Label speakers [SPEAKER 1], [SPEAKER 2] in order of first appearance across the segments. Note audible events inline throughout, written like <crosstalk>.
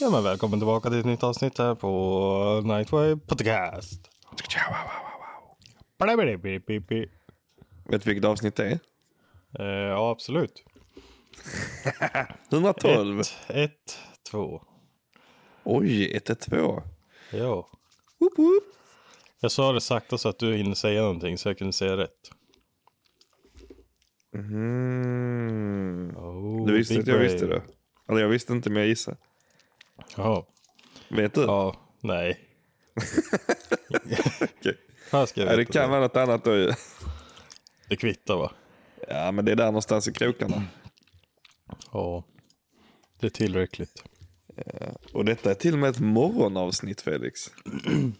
[SPEAKER 1] Ja, men välkommen tillbaka till ett nytt avsnitt här på Nightwave Podcast. Blablablablablabla.
[SPEAKER 2] Vet du vilket avsnitt det är?
[SPEAKER 1] Eh, Ja, absolut.
[SPEAKER 2] 112.
[SPEAKER 1] Ett, två.
[SPEAKER 2] Oj, 112.
[SPEAKER 1] Ja. Jag sa det sakta så att du hinner säga någonting så jag kunde säga rätt.
[SPEAKER 2] Mm.
[SPEAKER 1] Oh,
[SPEAKER 2] Du visste
[SPEAKER 1] big
[SPEAKER 2] att jag
[SPEAKER 1] brain.
[SPEAKER 2] visste det? Eller jag visste inte men jag gissade.
[SPEAKER 1] Jaha.
[SPEAKER 2] Vet du?
[SPEAKER 1] Ja, nej.
[SPEAKER 2] Okej.
[SPEAKER 1] Här ska jag
[SPEAKER 2] Ja, det
[SPEAKER 1] veta
[SPEAKER 2] kan vara något annat då ju.
[SPEAKER 1] det kvittar va?
[SPEAKER 2] Ja, men det är där någonstans i krokarna.
[SPEAKER 1] Ja. Det är tillräckligt.
[SPEAKER 2] Och detta är till och med ett morgonavsnitt Felix.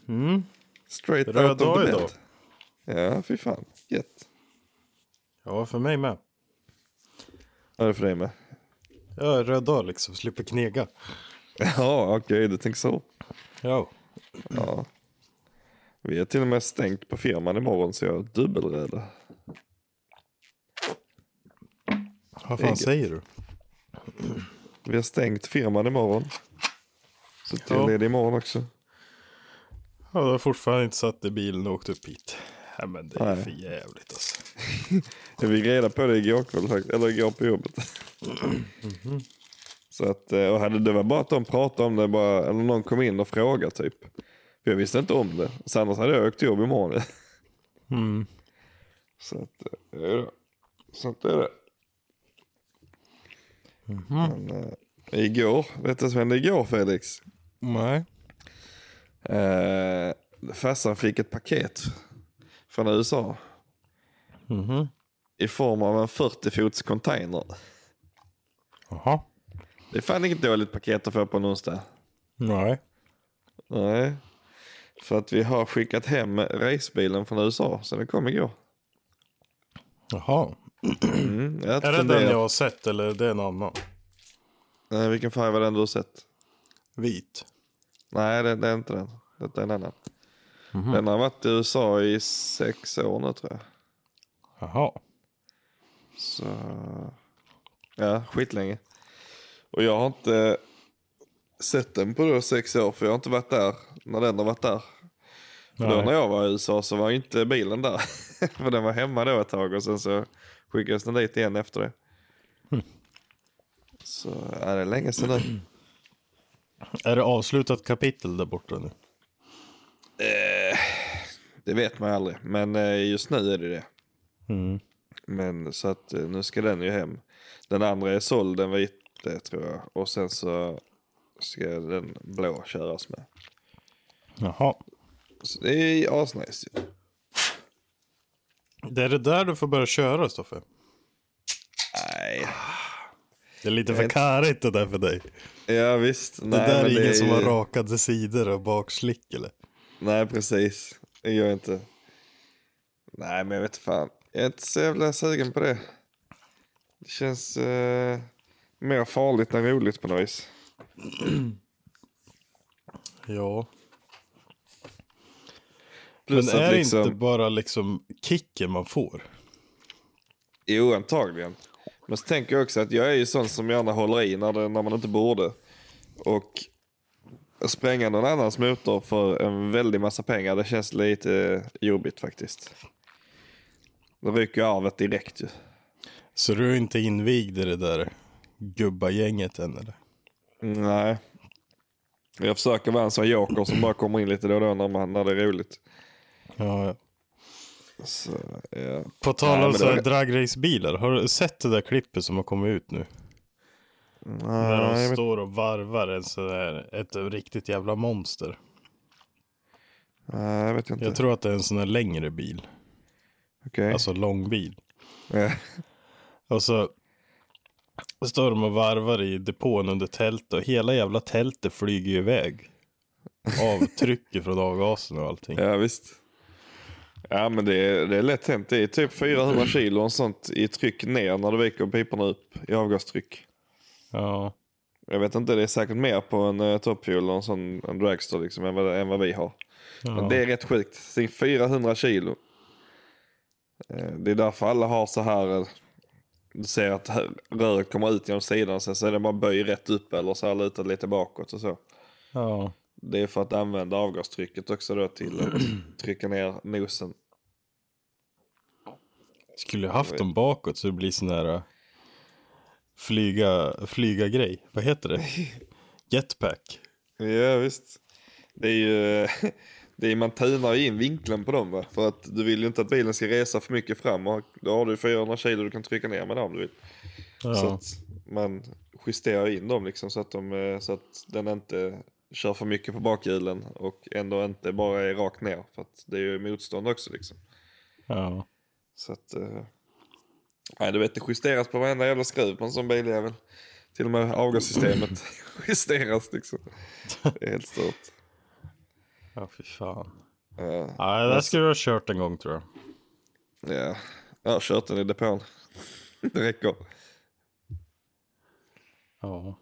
[SPEAKER 1] Mm.
[SPEAKER 2] Straight
[SPEAKER 1] Röd
[SPEAKER 2] out of
[SPEAKER 1] dag
[SPEAKER 2] the
[SPEAKER 1] idag.
[SPEAKER 2] bed. Ja, fy fan. Gött.
[SPEAKER 1] Ja, för mig med.
[SPEAKER 2] Vad är det för dig med? <laughs>
[SPEAKER 1] Jag är röd dag liksom, slipper knega.
[SPEAKER 2] Ja, okej, du tänker så.
[SPEAKER 1] Ja.
[SPEAKER 2] Ja. Vi är till och med stängt på firman imorgon så jag är dubbelröd.
[SPEAKER 1] Vad
[SPEAKER 2] Det är
[SPEAKER 1] fan
[SPEAKER 2] gött.
[SPEAKER 1] säger du?
[SPEAKER 2] Vi har stängt firman imorgon. Så till
[SPEAKER 1] Ja.
[SPEAKER 2] är ledig imorgon också.
[SPEAKER 1] Ja, jag har fortfarande inte satt i bilen och åkt upp hit. Nej, men det är
[SPEAKER 2] Nej.
[SPEAKER 1] för jävligt alltså.
[SPEAKER 2] Jag fick reda på det igår kväll faktiskt. Eller igår på jobbet. Så att, eh, och hade, det var bara att de pratade om det. Bara, eller någon kom in och frågade typ. För jag visste inte om det. Så annars hade jag åkt till jobb imorgon. <laughs> Så att, eh, ja, då. så att det är det. Men, eh, igår, vet du vad som hände igår Felix?
[SPEAKER 1] Nej.
[SPEAKER 2] Eh, farsan fick ett paket från USA.
[SPEAKER 1] Mhm.
[SPEAKER 2] I form av en 40-fots container.
[SPEAKER 1] Jaha.
[SPEAKER 2] Det är fan inget dåligt paket att få på en onsdag.
[SPEAKER 1] Nej.
[SPEAKER 2] Nej. För att vi har skickat hem racebilen från USA. Så den kom igår.
[SPEAKER 1] Jaha.
[SPEAKER 2] Mm, jag har inte
[SPEAKER 1] Är det den
[SPEAKER 2] funderat-
[SPEAKER 1] jag har sett eller är det en annan?
[SPEAKER 2] Nej, vilken färg var den du har sett?
[SPEAKER 1] Vit.
[SPEAKER 2] Nej, det, det är inte den. Det är en annan.
[SPEAKER 1] Mhm.
[SPEAKER 2] Den har varit i USA i sex år nu tror jag.
[SPEAKER 1] Jaha.
[SPEAKER 2] Så... Ja, skitlänge. Och jag har inte sett den på då sex år för jag har inte varit där när den har varit där. För Då
[SPEAKER 1] Nej.
[SPEAKER 2] när jag var i USA så var ju inte bilen där. <laughs> för den var hemma då ett tag och sen så skickades den dit igen efter det. Så ja, det är länge sedan nu.
[SPEAKER 1] Är det avslutat kapitel där borta nu?
[SPEAKER 2] Det vet man aldrig. Men eh, just nu är det det.
[SPEAKER 1] Mm.
[SPEAKER 2] Men så att eh, nu ska den ju hem. Den andra är såld, den vita tror jag. Och sen så ska den blå köras med.
[SPEAKER 1] Jaha.
[SPEAKER 2] Så det är ju asnice ju.
[SPEAKER 1] Det är det där du får börja köra Stoffe.
[SPEAKER 2] Nej.
[SPEAKER 1] Det är lite för karigt det där för dig.
[SPEAKER 2] Ja visst.
[SPEAKER 1] Det
[SPEAKER 2] Nej,
[SPEAKER 1] där
[SPEAKER 2] men
[SPEAKER 1] är ingen som
[SPEAKER 2] ju-
[SPEAKER 1] har rakade sidor och bakslick eller?
[SPEAKER 2] Nej precis. Det gör jag inte. Nej men jag vet fan. Jag är inte så jävla sugen på det. Det känns eh, mer farligt än roligt på något vis.
[SPEAKER 1] Ja. Men
[SPEAKER 2] Plus att
[SPEAKER 1] är det
[SPEAKER 2] liksom-
[SPEAKER 1] inte bara liksom kicken man får?
[SPEAKER 2] Jo, antagligen. Men så tänker jag också att jag är ju sån som gärna håller i när, det, när man inte borde. Och spränga någon annans motor för en väldig massa pengar, det känns lite jobbigt faktiskt. Då rycker jag arvet direkt ju.
[SPEAKER 1] Så du är inte invigd i det där gubbagänget än eller?
[SPEAKER 2] Nej. Jag försöker vara en sån joker som bara kommer in lite då och då när, man, när det är roligt.
[SPEAKER 1] Ja, ja.
[SPEAKER 2] Så, ja.
[SPEAKER 1] På
[SPEAKER 2] Nej,
[SPEAKER 1] tal
[SPEAKER 2] men
[SPEAKER 1] om
[SPEAKER 2] det
[SPEAKER 1] så här
[SPEAKER 2] var-
[SPEAKER 1] dragracebilar, har du sett det där klippet som har kommit ut nu? När
[SPEAKER 2] Nej,
[SPEAKER 1] de
[SPEAKER 2] men-
[SPEAKER 1] står och varvar en sån där, ett riktigt jävla monster.
[SPEAKER 2] Nej, jag vet inte.
[SPEAKER 1] Jag tror att det är en sån där längre bil,
[SPEAKER 2] Okej.
[SPEAKER 1] alltså långbil.
[SPEAKER 2] Ja.
[SPEAKER 1] Och så står de och varvar i depån under tält och hela jävla tältet flyger ju iväg. Av trycket <laughs> från avgasen och allting.
[SPEAKER 2] Ja visst. Ja men det är, det är lätt hänt. Det är typ 400 kilo och sånt i tryck ner när du viker piporna upp i avgastryck.
[SPEAKER 1] Ja.
[SPEAKER 2] Jag vet inte, det är säkert mer på en uh, toppfuel och en sån en dragster liksom än vad, än vad vi har. Men det är rätt sjukt. Så det är 400 kilo. Eh, Det är därför alla har så här. eh, Du ser att här- röret kommer ut genom sidan sen så är det bara böj rätt upp eller så här lutad lite bakåt och så.
[SPEAKER 1] ja.
[SPEAKER 2] Det är för att använda avgastrycket också då till att trycka ner nosen.
[SPEAKER 1] Skulle jag haft dem bakåt så det blir sån här äh, flyga, flyga grej. Vad heter <laughs> det? Jetpack.
[SPEAKER 2] Ja visst. Det är ju, <laughs> det är, man tunar ju in vinkeln på dem va. För att du vill ju inte att bilen ska resa för mycket fram. Och då har du 400 kilo du kan trycka ner med den om du vill. Så
[SPEAKER 1] Ja.
[SPEAKER 2] att man justerar in dem liksom så att, de, eh, så att den inte kör för mycket på bakhjulen. Och ändå inte bara är rakt ner. För att det är ju motstånd också liksom.
[SPEAKER 1] ja.
[SPEAKER 2] Så att... eh, Nej du vet det justeras på varenda jävla skruv på en sån biljävel. Till och med avgassystemet <laughs> justeras liksom. Det är helt stort.
[SPEAKER 1] Ja, fy fan.
[SPEAKER 2] Ja.
[SPEAKER 1] Nej, det där skulle jag ha kört en gång tror jag.
[SPEAKER 2] Ja, jag har kört den i depån. Det räcker.
[SPEAKER 1] Ja.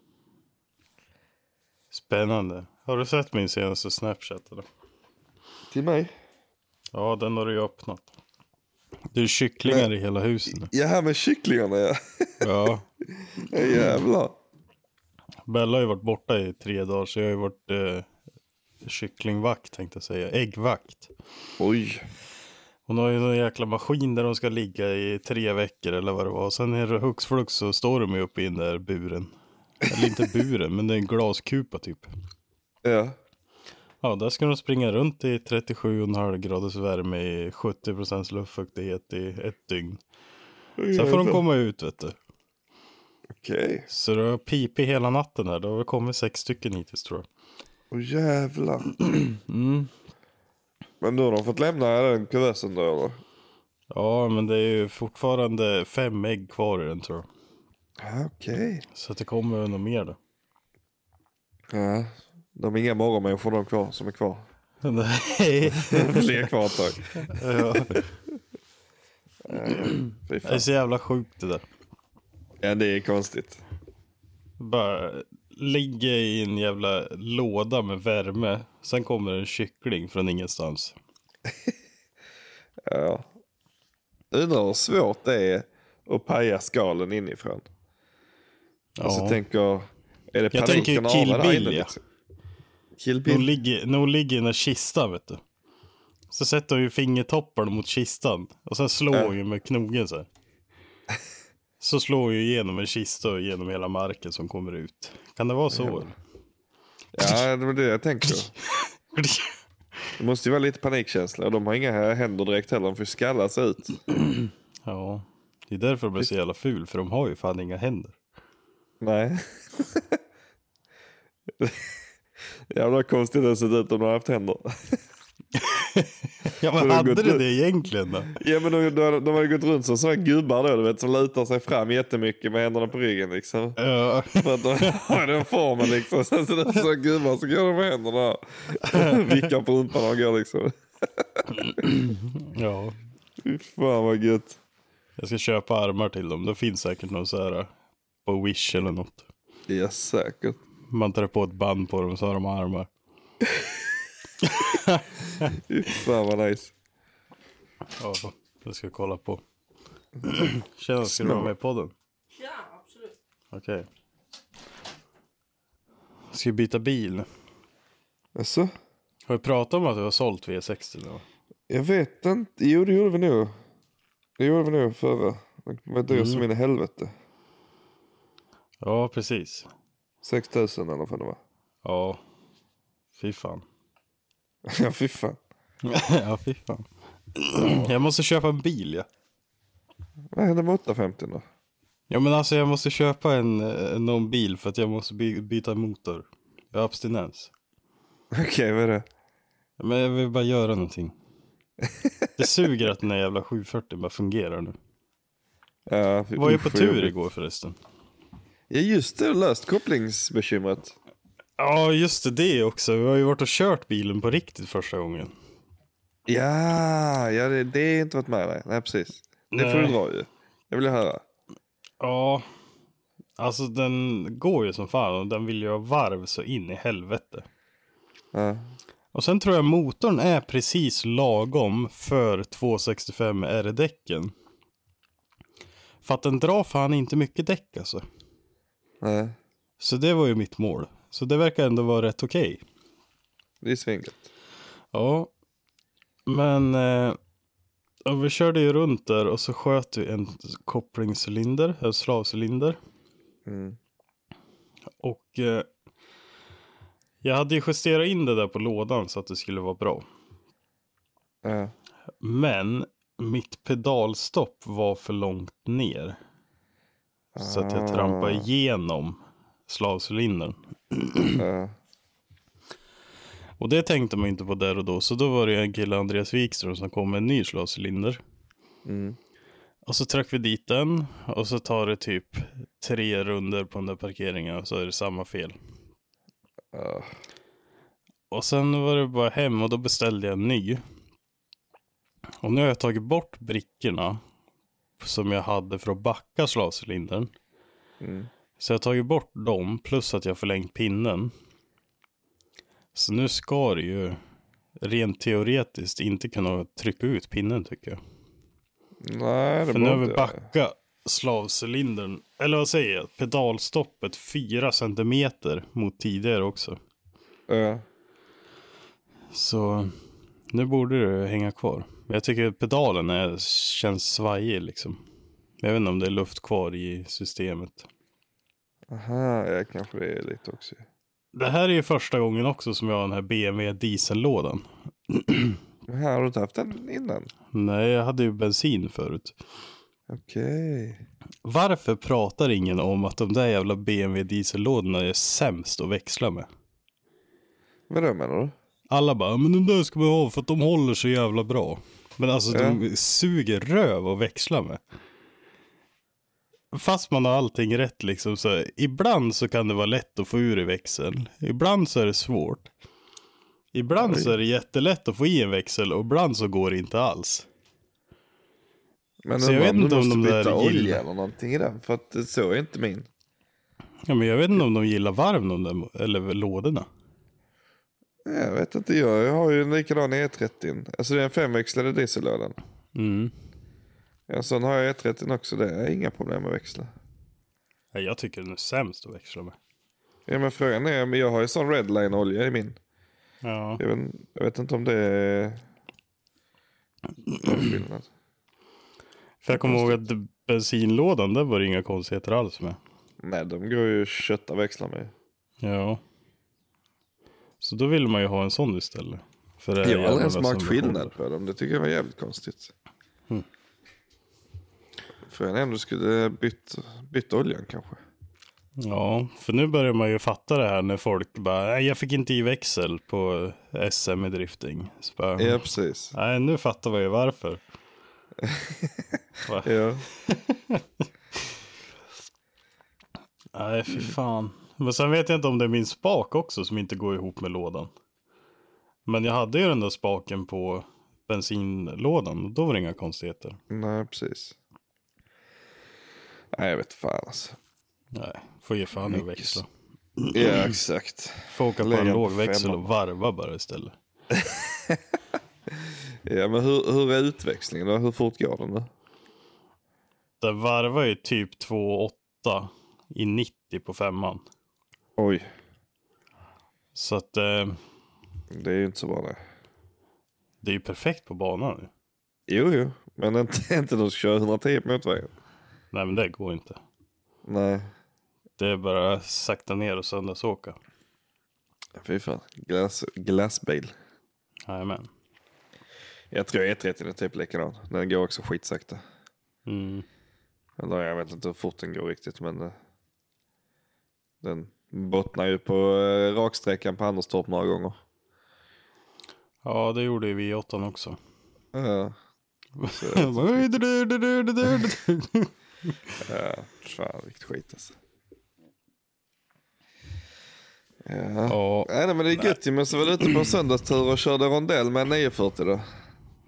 [SPEAKER 1] Spännande. Har du sett min senaste Snapchat eller?
[SPEAKER 2] Till mig?
[SPEAKER 1] Ja, den har du ju öppnat. Det är kycklingar i hela huset. nu.
[SPEAKER 2] Ja, här med kycklingarna ja.
[SPEAKER 1] Ja.
[SPEAKER 2] Ja, Jävlar.
[SPEAKER 1] Bella har ju varit borta i tre dagar så jag har ju varit eh, kycklingvakt tänkte jag säga. Äggvakt.
[SPEAKER 2] Oj.
[SPEAKER 1] Hon har ju någon jäkla maskin där de ska ligga i tre veckor eller vad det var. Sen är det hux flux så står de ju uppe i den där buren. Eller inte buren, men det är en glaskupa typ.
[SPEAKER 2] Ja.
[SPEAKER 1] Ja, där ska de springa runt i 37,5 graders värme i 70 luftfuktighet i ett dygn. Sen får de komma ut vet du.
[SPEAKER 2] Okej.
[SPEAKER 1] Så det har pipit hela natten här. Det har väl kommit sex stycken hittills tror jag.
[SPEAKER 2] Åh jävlar.
[SPEAKER 1] Mm.
[SPEAKER 2] Men nu har de fått lämna den kuvösen då eller?
[SPEAKER 1] Ja, men det är ju fortfarande fem ägg kvar i den tror jag.
[SPEAKER 2] Ja, Okej.
[SPEAKER 1] Så att det kommer väl nog mer då. <laughs>
[SPEAKER 2] Ja. De är inga morgonmänniskor de kvar som är kvar.
[SPEAKER 1] Nej.
[SPEAKER 2] Fler kvar ett tag.
[SPEAKER 1] <laughs> Ja,
[SPEAKER 2] Fy
[SPEAKER 1] det är
[SPEAKER 2] fan.
[SPEAKER 1] så jävla sjukt det där.
[SPEAKER 2] Ja, det är konstigt.
[SPEAKER 1] Bara ligga i en jävla låda med värme. Sen kommer en kyckling från ingenstans.
[SPEAKER 2] Ja. Undrar hur svårt det är att paja skalen inifrån.
[SPEAKER 1] Ja.
[SPEAKER 2] Alltså tänker, är det
[SPEAKER 1] Jag tänker ju
[SPEAKER 2] paniken
[SPEAKER 1] Kill
[SPEAKER 2] av det här
[SPEAKER 1] Bill,
[SPEAKER 2] inne,
[SPEAKER 1] ja.
[SPEAKER 2] liksom? Kill
[SPEAKER 1] Hon
[SPEAKER 2] Bill?
[SPEAKER 1] ligger, när hon ligger i den där kistan vet du. Så sätter hon ju fingertopparna mot kistan. Och sen slår hon ju med knogen så här. Så slår hon ju igenom en kista och igenom hela marken som kommer ut. Kan det vara så?
[SPEAKER 2] Ja, det var det
[SPEAKER 1] <laughs>
[SPEAKER 2] jag tänker.
[SPEAKER 1] eller?
[SPEAKER 2] Det måste ju vara lite panikkänsla. Och de har inga händer direkt heller. De får ju skalla sig ut.
[SPEAKER 1] <laughs> ja. Det är därför de är så jävla ful. För de har ju fan inga händer.
[SPEAKER 2] Nej. <laughs> Jävlar vad konstigt det har sett ut om de har haft händer.
[SPEAKER 1] Ja
[SPEAKER 2] Så
[SPEAKER 1] men
[SPEAKER 2] de
[SPEAKER 1] hade
[SPEAKER 2] går
[SPEAKER 1] det
[SPEAKER 2] till-
[SPEAKER 1] det egentligen då?
[SPEAKER 2] Ja men de, de, de har ju gått runt som sådana gubbar då, du vet, som lutar sig fram jättemycket med händerna på ryggen liksom.
[SPEAKER 1] Ja.
[SPEAKER 2] För att de har den formen liksom. Sen så det är så gubbar så går de med händerna. Vickar på rumpan och går liksom.
[SPEAKER 1] ja.
[SPEAKER 2] Fy fan vad gött.
[SPEAKER 1] Jag ska köpa armar till dem. Det finns säkert någon så här eh, på Wish eller något.
[SPEAKER 2] Ja säkert.
[SPEAKER 1] Man tar på ett band på dem så har de armar.
[SPEAKER 2] Fy fan vad nice.
[SPEAKER 1] Ja, det ska jag kolla på. <clears throat> Tjena, ska du vara med i podden? Ja, absolut. Okej. Ska vi byta bil?
[SPEAKER 2] Alltså,
[SPEAKER 1] Har vi pratat om att du har sålt V60 nu?
[SPEAKER 2] jag vet inte. Jo det gjorde vi nog. Det gjorde vi nog förra. Den var dyr som in i helvete.
[SPEAKER 1] Ja, precis.
[SPEAKER 2] 6000 eller vad fan det var. <laughs>
[SPEAKER 1] Ja. Fy fan.
[SPEAKER 2] Ja, fy fan.
[SPEAKER 1] <laughs> ja, fy fan. Jag måste köpa en bil, ja.
[SPEAKER 2] Vad händer med 850 då? <laughs>
[SPEAKER 1] Ja, men alltså jag måste köpa en, eh, någon bil för att jag måste by byta motor. Jag har abstinens.
[SPEAKER 2] Okej, vad är det?
[SPEAKER 1] Men jag vill bara göra någonting. Det suger att den här jävla 740 bara fungerar nu.
[SPEAKER 2] Ja, fy-
[SPEAKER 1] Var ju
[SPEAKER 2] usch,
[SPEAKER 1] på
[SPEAKER 2] vad
[SPEAKER 1] tur
[SPEAKER 2] jobbigt.
[SPEAKER 1] igår förresten.
[SPEAKER 2] Ja, just det. Löst kopplingsbekymret.
[SPEAKER 1] Ja, just det, det också. Vi har ju varit och kört bilen på riktigt första gången.
[SPEAKER 2] Ja, ja det, det är inte varit med nej. Nej, precis. Det får du
[SPEAKER 1] Nej.
[SPEAKER 2] dra ju. Jag vill höra.
[SPEAKER 1] Ja, alltså den går ju som fan och den vill ju ha varv så in i helvete.
[SPEAKER 2] Ja.
[SPEAKER 1] Och sen tror jag motorn är precis lagom för 265 R-däcken. För att den drar fan inte mycket däck alltså.
[SPEAKER 2] Nej,
[SPEAKER 1] Så det var ju mitt mål. Så det verkar ändå vara rätt okej.
[SPEAKER 2] det är svingött.
[SPEAKER 1] Ja. Men eh, ja, vi körde ju runt där och så sköt vi en kopplingscylinder, en slavcylinder.
[SPEAKER 2] Mm.
[SPEAKER 1] Och eh, jag hade ju justerat in det där på lådan så att det skulle vara bra.
[SPEAKER 2] Ja.
[SPEAKER 1] Men mitt pedalstopp var för långt ner. Så att jag trampade igenom slavcylindern.
[SPEAKER 2] Ja.
[SPEAKER 1] Och det tänkte man inte på där och då. Så då var det en kille, Andreas Wikström, som kom med en ny slavcylinder. Och så tryckte vi dit den. Och så tar det typ tre runder på den där parkeringen. Och så är det samma fel.
[SPEAKER 2] Ja.
[SPEAKER 1] Och sen var det bara hem och då beställde jag en ny. Och nu har jag tagit bort brickorna som jag hade för att backa slavcylindern. Så jag har tagit bort dem plus att jag har förlängt pinnen. Så nu ska det ju rent teoretiskt inte kunna trycka ut pinnen tycker jag.
[SPEAKER 2] Nej, det
[SPEAKER 1] För nu har
[SPEAKER 2] behöver
[SPEAKER 1] vi
[SPEAKER 2] inte jag.
[SPEAKER 1] backat slavcylindern, eller vad säger jag, pedalstoppet 4 centimeter mot tidigare också.
[SPEAKER 2] Ja.
[SPEAKER 1] Så nu borde det hänga kvar. Men Jag tycker pedalen är, känns svajig liksom. Jag vet inte om det är luft kvar i systemet.
[SPEAKER 2] Aha, ja, kanske det är lite också.
[SPEAKER 1] Det här är ju första gången också som jag har den här BMW diesellådan.
[SPEAKER 2] Men här har du inte haft den innan?
[SPEAKER 1] Nej, jag hade ju bensin förut.
[SPEAKER 2] Okej.
[SPEAKER 1] Varför pratar ingen om att de där jävla BMW diesellådorna är sämst att växla med?
[SPEAKER 2] Vadå menar du?
[SPEAKER 1] Alla bara, men de där ska man ha för att de håller så jävla bra. Men alltså de suger röv att växla med. Fast man har allting rätt liksom. Så här, ibland så kan det vara lätt att få ur i växeln. Ibland så är det svårt. Ibland så är det jättelätt att få i en växel och ibland så går det inte alls.
[SPEAKER 2] Men
[SPEAKER 1] Så Alltså, jag
[SPEAKER 2] undrar
[SPEAKER 1] vet inte
[SPEAKER 2] du
[SPEAKER 1] om
[SPEAKER 2] måste
[SPEAKER 1] de där
[SPEAKER 2] byta
[SPEAKER 1] gillar-
[SPEAKER 2] olja eller någonting i den. För att så är inte min.
[SPEAKER 1] Ja, men jag vet inte om de gillar varv de där, eller lådorna.
[SPEAKER 2] Jag vet inte, jag, jag har ju en likadan E30. Alltså det är en femväxlade diesellådan.
[SPEAKER 1] Mm.
[SPEAKER 2] En sån har jag E30 också, det är inga problem att växla.
[SPEAKER 1] Nej, Jag tycker den är sämst att växla med.
[SPEAKER 2] Ja, men frågan är, men jag har ju sån redline-olja i min.
[SPEAKER 1] Ja.
[SPEAKER 2] Jag vet, jag vet inte om det är någon skillnad.
[SPEAKER 1] För jag kommer ihåg att bensinlådan, där var det inga konstigheter alls med.
[SPEAKER 2] Nej, de går ju att kötta växlar med.
[SPEAKER 1] Ja. Så då vill man ju ha en sån istället. För det Mm. här
[SPEAKER 2] Jag har aldrig
[SPEAKER 1] jävla
[SPEAKER 2] ens märkt
[SPEAKER 1] som-
[SPEAKER 2] skillnad på dem. Det tycker jag var jävligt konstigt. Frågan är om du skulle bytt, bytt oljan kanske.
[SPEAKER 1] Ja, för nu börjar man ju fatta det här när folk bara, nej jag fick inte i växel på SM i drifting. Så bara,
[SPEAKER 2] Ja, precis.
[SPEAKER 1] Nej, nu fattar man ju varför. Va?
[SPEAKER 2] Ja.
[SPEAKER 1] Nej, fy fan. Men sen vet jag inte om det är min spak också som inte går ihop med lådan. Men jag hade ju den där spaken på bensinlådan och då var det inga konstigheter.
[SPEAKER 2] Nej, precis. Nej, jag vet fan alltså.
[SPEAKER 1] Nej, får ge fan i att växla.
[SPEAKER 2] Ja, exakt.
[SPEAKER 1] Får åka på
[SPEAKER 2] Lägga
[SPEAKER 1] en
[SPEAKER 2] en
[SPEAKER 1] låg växel
[SPEAKER 2] femma.
[SPEAKER 1] och varva bara istället.
[SPEAKER 2] Ja, men hur, hur är utväxlingen då? Hur fort går den då?
[SPEAKER 1] Den varvar ju typ 2,8 i 90 på femman.
[SPEAKER 2] Oj,
[SPEAKER 1] Så att eh,
[SPEAKER 2] det är ju inte så bra det.
[SPEAKER 1] det är ju perfekt på banan nu.
[SPEAKER 2] Jo, jo, men <laughs> inte, inte när du ska köra 110 på motorvägen.
[SPEAKER 1] Nej men det går inte.
[SPEAKER 2] Nej,
[SPEAKER 1] Det är bara sakta ner och söndagsåka.
[SPEAKER 2] Fy fan. Glass, glassbil.
[SPEAKER 1] Jajamän.
[SPEAKER 2] Jag tror E30 är typ likadan. Den går också skitsakta.
[SPEAKER 1] Mm.
[SPEAKER 2] Eller jag vet inte hur fort den går riktigt men eh, den bottnar ju på eh, raksträckan på Anderstorp några gånger.
[SPEAKER 1] Ja, det gjorde ju vi i åttan också.
[SPEAKER 2] Ja, ja, fan vilket skit alltså. Ja.
[SPEAKER 1] Ja,
[SPEAKER 2] Nej, nej men det är gött ju. Men så var du ute på en söndagstur och körde rondell med en 940 då.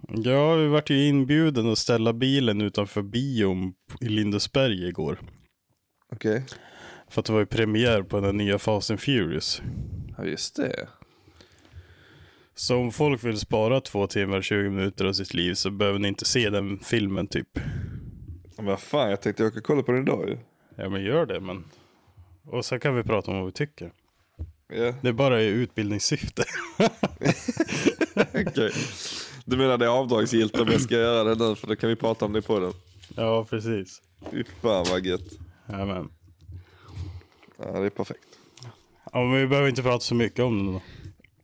[SPEAKER 1] Ja, vi vart ju inbjuden att ställa bilen utanför bion i Lindesberg igår.
[SPEAKER 2] Okej.
[SPEAKER 1] För att det var ju premiär på den här nya Fast and Furious.
[SPEAKER 2] Ja just det.
[SPEAKER 1] Så om folk vill spara två timmar och 20 minuter av sitt liv så behöver ni inte se den filmen typ.
[SPEAKER 2] Men vad fan jag tänkte åka och kolla på den idag ju.
[SPEAKER 1] Ja men gör det men. Och sen kan vi prata om vad vi tycker.
[SPEAKER 2] Ja.
[SPEAKER 1] Det är bara i utbildningssyfte. <laughs>
[SPEAKER 2] <laughs> Okej. Du menar det är avdragsgillt om jag ska göra det nu för då kan vi prata om det på den.
[SPEAKER 1] ja precis.
[SPEAKER 2] Fy fan vad gött.
[SPEAKER 1] Jajamän.
[SPEAKER 2] Ja det är perfekt.
[SPEAKER 1] Ja men vi behöver inte prata så mycket om den då.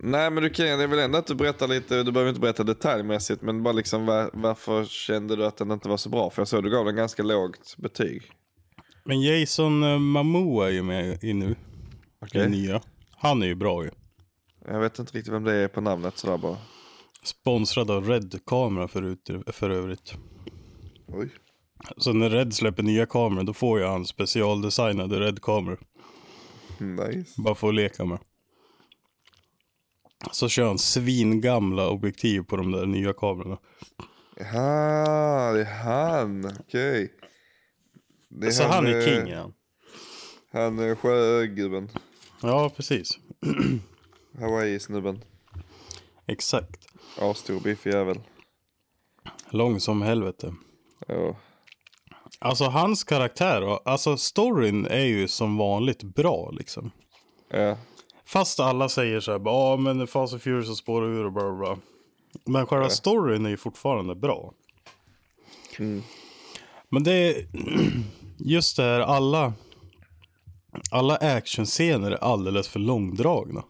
[SPEAKER 2] Nej men du kan, jag vill ändå att du berättar lite, du behöver inte berätta detaljmässigt men bara liksom var, varför kände du att den inte var så bra? För jag såg du gav den ganska lågt betyg.
[SPEAKER 1] Men Jason eh, Momoa är ju med i nu. Den nya. Han är ju bra ju.
[SPEAKER 2] Jag vet inte riktigt vem det är på namnet sådär bara.
[SPEAKER 1] Sponsrad av Red kamera förut, för övrigt.
[SPEAKER 2] Oj.
[SPEAKER 1] Så när Red släpper nya kameror då får jag han specialdesignade Red-kameror.
[SPEAKER 2] Nice.
[SPEAKER 1] Bara för att leka med. Så kör han svingamla objektiv på de där nya kamerorna.
[SPEAKER 2] Ja, Ah, det är han. Okej. Det
[SPEAKER 1] Så Alltså, han är
[SPEAKER 2] eh,
[SPEAKER 1] king han.
[SPEAKER 2] Han är sjögubben.
[SPEAKER 1] Ja precis.
[SPEAKER 2] Hawaii-snubben.
[SPEAKER 1] Exakt.
[SPEAKER 2] Asstor biffig jävel.
[SPEAKER 1] Lång som helvete.
[SPEAKER 2] Ja.
[SPEAKER 1] Alltså hans karaktär och alltså storyn är ju som vanligt bra liksom.
[SPEAKER 2] Ja.
[SPEAKER 1] Fast alla säger så här, bara, ja men Fast and Furious och spårar ur och bla bla bla. Men själva storyn är ju fortfarande bra. Men det är <clears throat> just det här alla, alla actionscener är alldeles för långdragna.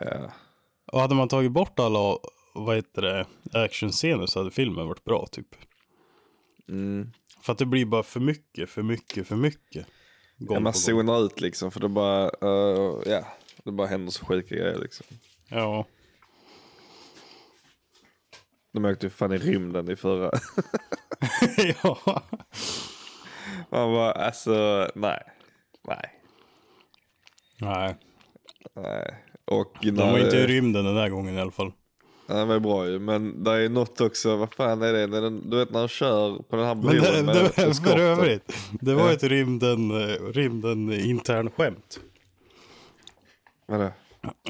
[SPEAKER 2] Ja.
[SPEAKER 1] Och hade man tagit bort alla, vad heter det, actionscener så hade filmen varit bra typ.
[SPEAKER 2] Mm.
[SPEAKER 1] För att det blir bara för mycket, för mycket, för mycket. Gång
[SPEAKER 2] ja man
[SPEAKER 1] på gång.
[SPEAKER 2] zonar ut liksom för det bara, eh, ja. Det bara händer så sjuka grejer liksom.
[SPEAKER 1] Ja.
[SPEAKER 2] De åkte ju fan i rymden i förra.
[SPEAKER 1] <laughs>
[SPEAKER 2] <laughs>
[SPEAKER 1] ja.
[SPEAKER 2] Man bara, alltså nej. Nej.
[SPEAKER 1] Nej.
[SPEAKER 2] nej. Och
[SPEAKER 1] De var
[SPEAKER 2] när-
[SPEAKER 1] inte i rymden den där gången i alla fall.
[SPEAKER 2] Nej, Den var ju bra ju. Men det är ju något också, vad fan är det? När den, du vet när han kör på den här
[SPEAKER 1] Men
[SPEAKER 2] bron
[SPEAKER 1] det,
[SPEAKER 2] med
[SPEAKER 1] det, för
[SPEAKER 2] eskorten.
[SPEAKER 1] övrigt, det var ett rymden, eh, rymden intern skämt.
[SPEAKER 2] Vadå?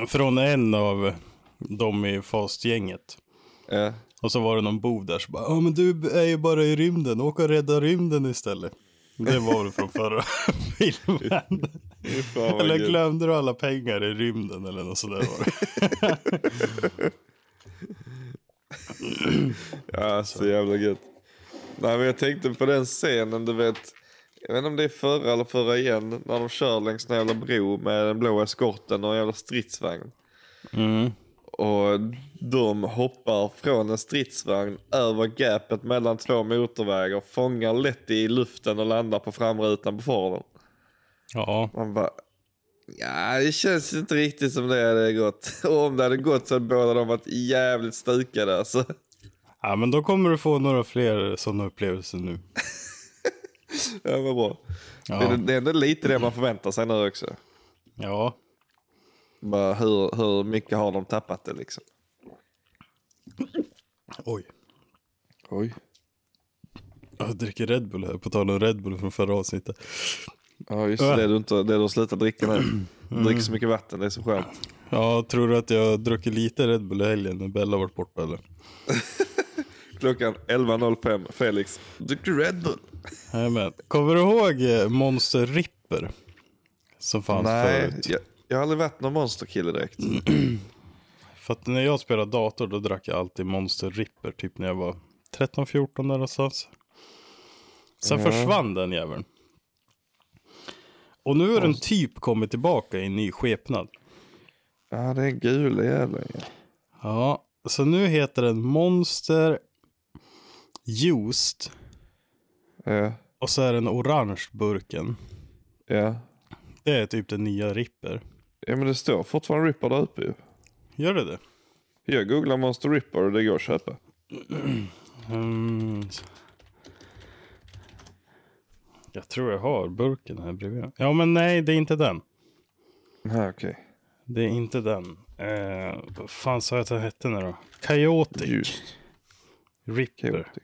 [SPEAKER 1] Från en av dem i Fast-gänget.
[SPEAKER 2] Ja.
[SPEAKER 1] Och så var det någon bov där som bara, ja men du är ju bara i rymden, åk och rädda rymden istället. Det var väl från förra <laughs> filmen.
[SPEAKER 2] Fy fan vad
[SPEAKER 1] Eller
[SPEAKER 2] gud.
[SPEAKER 1] glömde du alla pengar i rymden eller något sådär var det.
[SPEAKER 2] Ja, så jävla gött. Nej, men jag tänkte på den scenen, du vet. Jag vet inte om det är förra eller förra igen. När de kör längs en jävla bro med den blå eskorten och en jävla stridsvagn. Och de hoppar från en stridsvagn över gapet mellan två motorvägar. Fångar lätt i luften och landar på framrutan på Forden.
[SPEAKER 1] Ja,
[SPEAKER 2] Man bara... Ja, det känns inte riktigt som det hade gått. <laughs> Och om det hade gått så hade båda de varit jävligt stukade alltså.
[SPEAKER 1] ja men då kommer du få några fler sådana upplevelser nu.
[SPEAKER 2] Ja, vad bra.
[SPEAKER 1] Ja.
[SPEAKER 2] Det, det är ändå lite det man förväntar sig nu också.
[SPEAKER 1] Ja,
[SPEAKER 2] Bara hur, hur mycket har de tappat det liksom?
[SPEAKER 1] oj.
[SPEAKER 2] Oj.
[SPEAKER 1] Jag dricker Red Bull här, på tal om Red Bull från förra avsnittet.
[SPEAKER 2] Ja, just det. Mm. Det du, inte, det du har slutat dricka nu. Du dricker så mycket vatten, det är så skönt.
[SPEAKER 1] Ja, tror du att jag druckit lite Red Bull i helgen när Bella varit borta eller?
[SPEAKER 2] Klockan 11.05, Felix. Drick du Red Bull?
[SPEAKER 1] Jajamän. Kommer du ihåg eh, Monster Ripper? Som fanns
[SPEAKER 2] Nej,
[SPEAKER 1] förut.
[SPEAKER 2] jag, jag har aldrig varit någon monsterkille direkt.
[SPEAKER 1] För att när jag spelade dator då drack jag alltid Monster Ripper. Typ när jag var 13-14 där någonstans. Sen försvann den jäveln. Och nu har den typ kommit tillbaka i ny skepnad.
[SPEAKER 2] Ja, det är en gul jävla. Ja.
[SPEAKER 1] Ja, så nu heter den Monster Juiced.
[SPEAKER 2] Ja,
[SPEAKER 1] Och så är den orange burken.
[SPEAKER 2] ja.
[SPEAKER 1] Det är typ den nya Ripper.
[SPEAKER 2] ja, men det står fortfarande Ripper där uppe ju.
[SPEAKER 1] Gör det det?
[SPEAKER 2] Jag googlar Monster Ripper och det går att köpa.
[SPEAKER 1] Mm. Jag tror jag har burken här bredvid. Ja, men nej, det är inte den.
[SPEAKER 2] Nej, okej.
[SPEAKER 1] Det är inte den. Eh, vad fan sa jag att den hette nu då? Chaotic
[SPEAKER 2] Just.
[SPEAKER 1] Ripper.
[SPEAKER 2] Chaotic.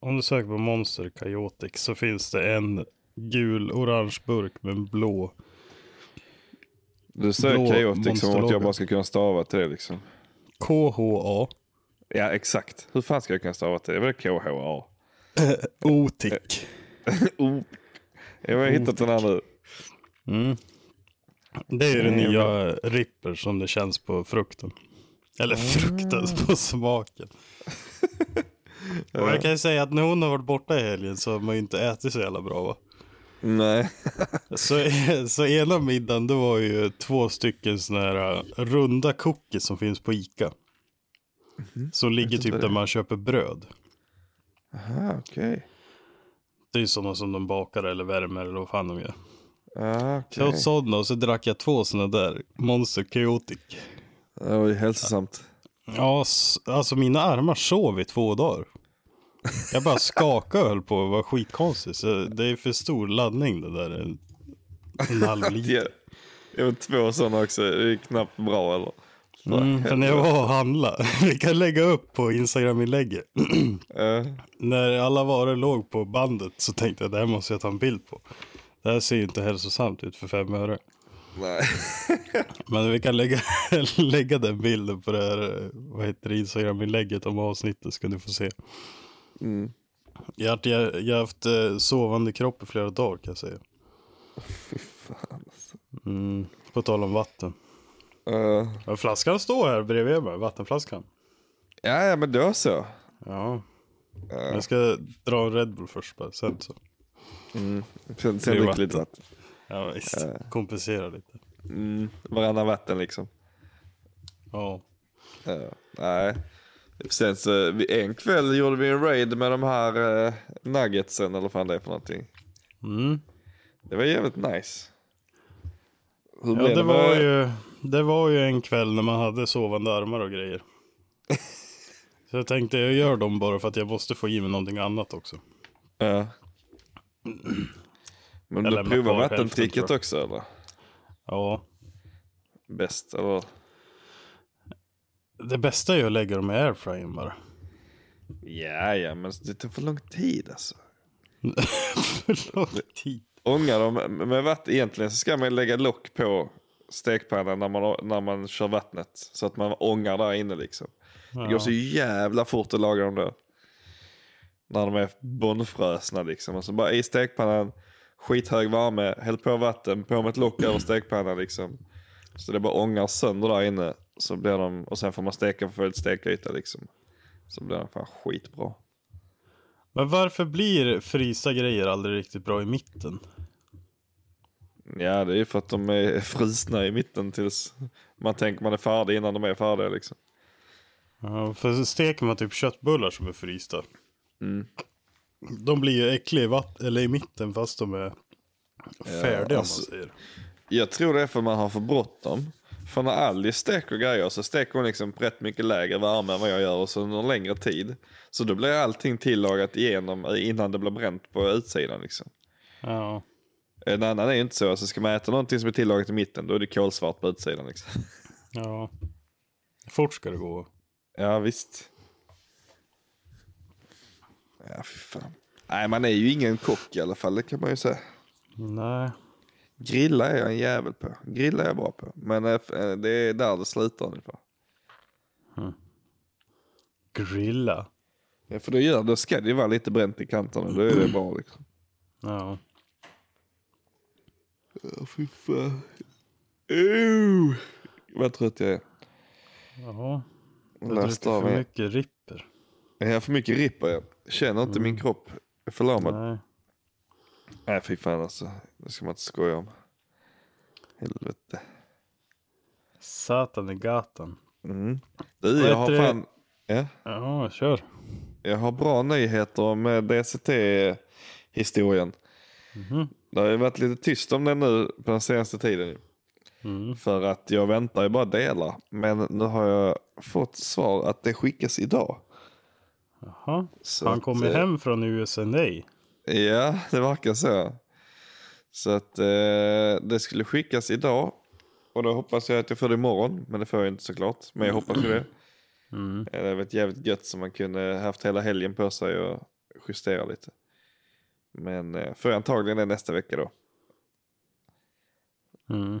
[SPEAKER 1] Om du söker på Monster Chaotic så finns det en gul-orange burk med en blå.
[SPEAKER 2] Du säger
[SPEAKER 1] Blå
[SPEAKER 2] Chaotic som liksom, att
[SPEAKER 1] monsterlogga.
[SPEAKER 2] jag bara ska kunna stava till det liksom.
[SPEAKER 1] KHA.
[SPEAKER 2] Ja, exakt. Hur fan ska jag kunna stava till det? Det är väl KHA?
[SPEAKER 1] Otic.
[SPEAKER 2] Oh. Jag har hittat den här nu.
[SPEAKER 1] Det är ju den nya Ripper som det känns på frukten. Eller frukten, <laughs> på smaken. Och jag kan ju säga att när hon har varit borta i helgen så har man ju inte ätit så jävla bra va?
[SPEAKER 2] Nej.
[SPEAKER 1] Så, <laughs> så ena middagen det var ju två stycken såna här äh, runda cookies som finns på Ica. Som ligger typ där man köper bröd.
[SPEAKER 2] Ah, <laughs> okej.
[SPEAKER 1] Det är ju sådana som de bakar eller värmer eller vad fan de gör.
[SPEAKER 2] Ah, okej.
[SPEAKER 1] Så jag åt sådana och så drack jag två sådana där Monster Chaotic.
[SPEAKER 2] Det var ju hälsosamt.
[SPEAKER 1] Ja, s- alltså mina armar sov i två dagar. Jag bara skakade och höll på att vara skitkonstig. Så det är för stor laddning det där. En, en halv
[SPEAKER 2] Ja.
[SPEAKER 1] liter.
[SPEAKER 2] Jag har två sådana också. Det är ju knappt bra eller?
[SPEAKER 1] Mm, för när jag var och handlade. <laughs> Vi kan lägga upp på Instagram-inlägget. <clears throat>
[SPEAKER 2] Eh,
[SPEAKER 1] När alla varor låg på bandet så tänkte jag det här måste jag ta en bild på. Det här ser ju inte hälsosamt ut för fem öre.
[SPEAKER 2] nej.
[SPEAKER 1] Men vi kan lägga, <laughs> lägga den bilden på det här, eh, vad heter det, Instagram-inlägget om avsnittet ska ni få se. Jag, har- jag, jag har haft eh, sovande kropp i flera dagar kan jag säga. Mm, på tal om vatten.
[SPEAKER 2] Eh,
[SPEAKER 1] Ja, Flaskan står här bredvid mig, vattenflaskan.
[SPEAKER 2] ja, ja, men då så.
[SPEAKER 1] Ja. Jag ska dra en Red Bull först bara, sen så.
[SPEAKER 2] Sen,
[SPEAKER 1] Det
[SPEAKER 2] sen
[SPEAKER 1] är
[SPEAKER 2] drick lite vatten.
[SPEAKER 1] Ja visst, kompensera lite.
[SPEAKER 2] Varannan vatten liksom.
[SPEAKER 1] Ja.
[SPEAKER 2] Ja, nej. Sen så, vi- en kväll gjorde vi en raid med de här eh, nuggetsen eller vad fan det är för någonting.
[SPEAKER 1] Mm.
[SPEAKER 2] Det var jävligt nice. Hur
[SPEAKER 1] Ja,
[SPEAKER 2] blev
[SPEAKER 1] det var,
[SPEAKER 2] med-
[SPEAKER 1] ju, det var ju en kväll när man hade sovande armar och
[SPEAKER 2] <laughs>
[SPEAKER 1] grejer. Så jag tänkte jag gör dem bara för att jag måste få i mig någonting annat också.
[SPEAKER 2] Ja.
[SPEAKER 1] Jag
[SPEAKER 2] Men du
[SPEAKER 1] lämnar
[SPEAKER 2] provar
[SPEAKER 1] kvar hälften,
[SPEAKER 2] vattentricket
[SPEAKER 1] tror jag.
[SPEAKER 2] också eller?
[SPEAKER 1] Ja,
[SPEAKER 2] Bäst eller?
[SPEAKER 1] det bästa är ju att lägga dem i airfryern bara. <laughs>
[SPEAKER 2] Ja, ja, men det tar för lång tid alltså.
[SPEAKER 1] För lång
[SPEAKER 2] Typ.
[SPEAKER 1] tid.
[SPEAKER 2] Ånga dem med vatten. Egentligen så ska man lägga lock på stekpannan när man, när man kör vattnet. Så att man ångar där inne liksom. Det går så jävla fort att laga dem då. När de är bondfrösna liksom. Och så bara i stekpannan, skithög värme, häll på vatten, på med ett lock över stekpannan liksom. Så det bara ångar sönder där inne. Så blir de, och sen får man steka för full stekyta liksom. Så blir de fan skitbra.
[SPEAKER 1] Men varför blir frysta grejer aldrig riktigt bra i mitten?
[SPEAKER 2] Ja, det är ju för att de är frusna i mitten tills man tänker man är färdig innan de är färdiga liksom.
[SPEAKER 1] Ja, för så steker man typ köttbullar som är frysta.
[SPEAKER 2] Mm.
[SPEAKER 1] De blir ju äckliga i, vatt- eller i mitten fast de är färdiga
[SPEAKER 2] alltså-
[SPEAKER 1] om man säger.
[SPEAKER 2] Jag tror det är för man har för bråttom. För när Alice steker grejer så steker hon liksom på rätt mycket lägre värme än vad jag gör och så under en längre tid. Så då blir allting tillagat igenom innan det blir bränt på utsidan liksom.
[SPEAKER 1] Ja.
[SPEAKER 2] En annan är ju inte så. Alltså ska man äta någonting som är tillagat i mitten då är det kolsvart på utsidan liksom.
[SPEAKER 1] Ja. Fort ska det gå.
[SPEAKER 2] <laughs> Ja visst. Ja fy fan. Nej man är ju ingen kock i alla fall det kan man ju säga.
[SPEAKER 1] Nej.
[SPEAKER 2] Grilla är jag en jävel på. Grilla är jag bra på. Men eh, f- eh, det är där det slutar ungefär.
[SPEAKER 1] Grilla.
[SPEAKER 2] Ja, för då, gör, då ska det ju vara lite bränt i kanterna. Då är det bra liksom.
[SPEAKER 1] Ja.
[SPEAKER 2] Ja, fy fan. Oh, vad trött jag är.
[SPEAKER 1] Ja. Du
[SPEAKER 2] Läste
[SPEAKER 1] dricker
[SPEAKER 2] av
[SPEAKER 1] för
[SPEAKER 2] mig.
[SPEAKER 1] mycket ripper.
[SPEAKER 2] Jag har för mycket ripper jag. Känner inte min kropp. Jag är förlamad.
[SPEAKER 1] Mm. Nej.
[SPEAKER 2] Nej fy fan alltså. Det ska man inte skoja om. Helvete.
[SPEAKER 1] Satan i gatan.
[SPEAKER 2] Du,
[SPEAKER 1] Vad
[SPEAKER 2] jag har
[SPEAKER 1] heter det?
[SPEAKER 2] fan... Ja,
[SPEAKER 1] Ja, kör. Jag
[SPEAKER 2] jag har bra nyheter om eh, DCT-historien.
[SPEAKER 1] Mhm.
[SPEAKER 2] Det har ju varit lite tyst om den nu på den senaste tiden. ju.
[SPEAKER 1] Mm.
[SPEAKER 2] För att jag väntar ju bara delar. Men nu har jag fått svar att det skickas idag.
[SPEAKER 1] Ja,
[SPEAKER 2] Så
[SPEAKER 1] han
[SPEAKER 2] att,
[SPEAKER 1] kommer
[SPEAKER 2] eh,
[SPEAKER 1] hem från USA.
[SPEAKER 2] Ja, det verkar så. Så att eh, det skulle skickas idag. Och då hoppas jag att jag får det imorgon. Men det får jag inte såklart. Men jag hoppas ju det. Eh, Det var ett jävligt gött som man kunde haft hela helgen på sig och justera lite. Men eh, får jag antagligen det nästa vecka då.
[SPEAKER 1] Mm.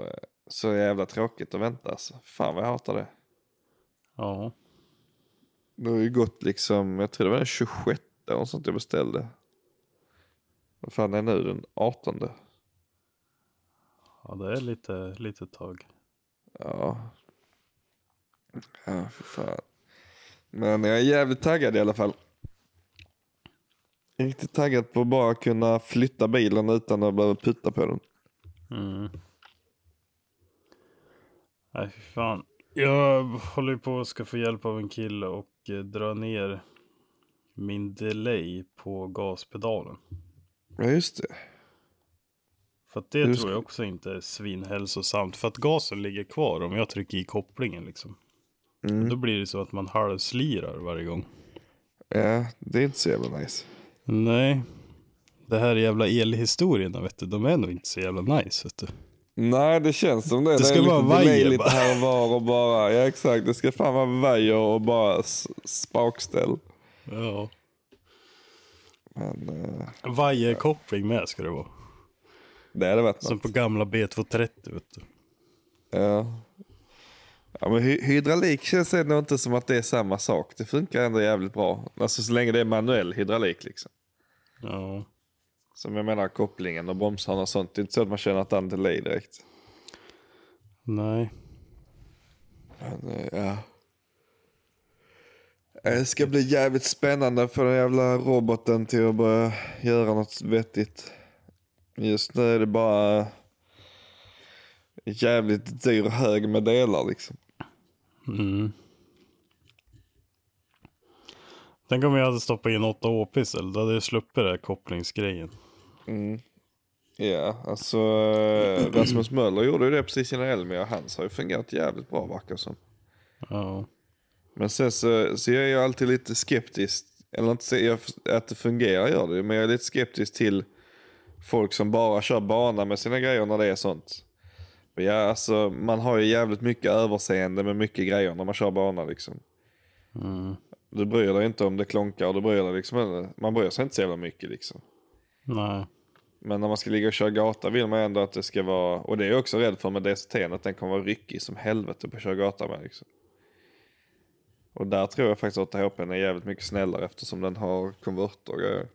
[SPEAKER 2] Eh, Så jävla tråkigt att vänta alltså. Fan vad jag hatar det.
[SPEAKER 1] Ja.
[SPEAKER 2] Det har ju gått liksom, jag tror det var den 26 eller något sånt jag beställde. Vad fan är nu den 18?
[SPEAKER 1] ja, det är lite, lite tag.
[SPEAKER 2] Ja. Ja, för fan. Men jag är jävligt taggad i alla fall. Riktigt taggad på att bara kunna flytta bilen utan att behöva putta på den.
[SPEAKER 1] Nej, fy fan. Jag håller ju på att ska få hjälp av en kille och eh, dra ner min delay på gaspedalen.
[SPEAKER 2] Ja, just det.
[SPEAKER 1] För att det
[SPEAKER 2] Hur
[SPEAKER 1] tror jag också inte är svinhälsosamt. För att gasen ligger kvar om jag trycker i kopplingen liksom.
[SPEAKER 2] Mm.
[SPEAKER 1] Och Då blir det så att man halvslirar varje gång.
[SPEAKER 2] Ja, det är inte så jävla nice.
[SPEAKER 1] Nej. Det här jävla elhistorierna vet du, de är nog inte så jävla nice vet du.
[SPEAKER 2] Nej, det känns som det. Det,
[SPEAKER 1] ska
[SPEAKER 2] är
[SPEAKER 1] vara
[SPEAKER 2] lite delay
[SPEAKER 1] vajer
[SPEAKER 2] lite
[SPEAKER 1] bara.
[SPEAKER 2] här och var och bara. Ja, exakt. Det ska fan vara vajer och bara s- spakställ.
[SPEAKER 1] Ja.
[SPEAKER 2] Men eh,
[SPEAKER 1] Vajerkoppling med ska det vara.
[SPEAKER 2] det hade varit
[SPEAKER 1] Som
[SPEAKER 2] något.
[SPEAKER 1] på gamla B230 vet du.
[SPEAKER 2] Ja. Ja, men hy- hydraulik känns ändå inte som att det är samma sak. Det funkar ändå jävligt bra. Alltså så länge det är manuell hydraulik liksom.
[SPEAKER 1] Ja.
[SPEAKER 2] Som jag menar kopplingen och bromsarna och sånt. Det är inte så att man känner att den delay direkt.
[SPEAKER 1] Nej.
[SPEAKER 2] Men, eh, ja. Eh, Det ska bli jävligt spännande för den jävla roboten till att börja göra något vettigt. Just nu är det bara eh, jävligt dyr hög med delar liksom.
[SPEAKER 1] Tänk om jag hade stoppat in 8 Å-pissel. Då hade jag sluppit den här kopplingsgrejen.
[SPEAKER 2] Ja, alltså eh, <clears throat> Rasmus Möller gjorde ju det precis innan Elmia. Hans har ju fungerat jävligt bra verkar det som.
[SPEAKER 1] Ja.
[SPEAKER 2] Men sen så, så jag är ju alltid lite skeptisk. Eller inte så, jag, att det fungerar gör det men jag är lite skeptisk till folk som bara kör bana med sina grejer när det är sånt. Men Ja, alltså, man har ju jävligt mycket överseende med mycket grejer när man kör bana liksom. Du bryr dig inte om det klonkar, du bryr dig liksom, man bryr sig inte så jävla mycket liksom.
[SPEAKER 1] Nej.
[SPEAKER 2] Men när man ska ligga och köra gata vill man ju ändå att det ska vara, och det är jag också rädd för med DCT, att den kommer vara ryckig som helvete på att köra gata med. Liksom. Och där tror jag faktiskt att ATHP är jävligt mycket snällare eftersom den har konverter och grejer.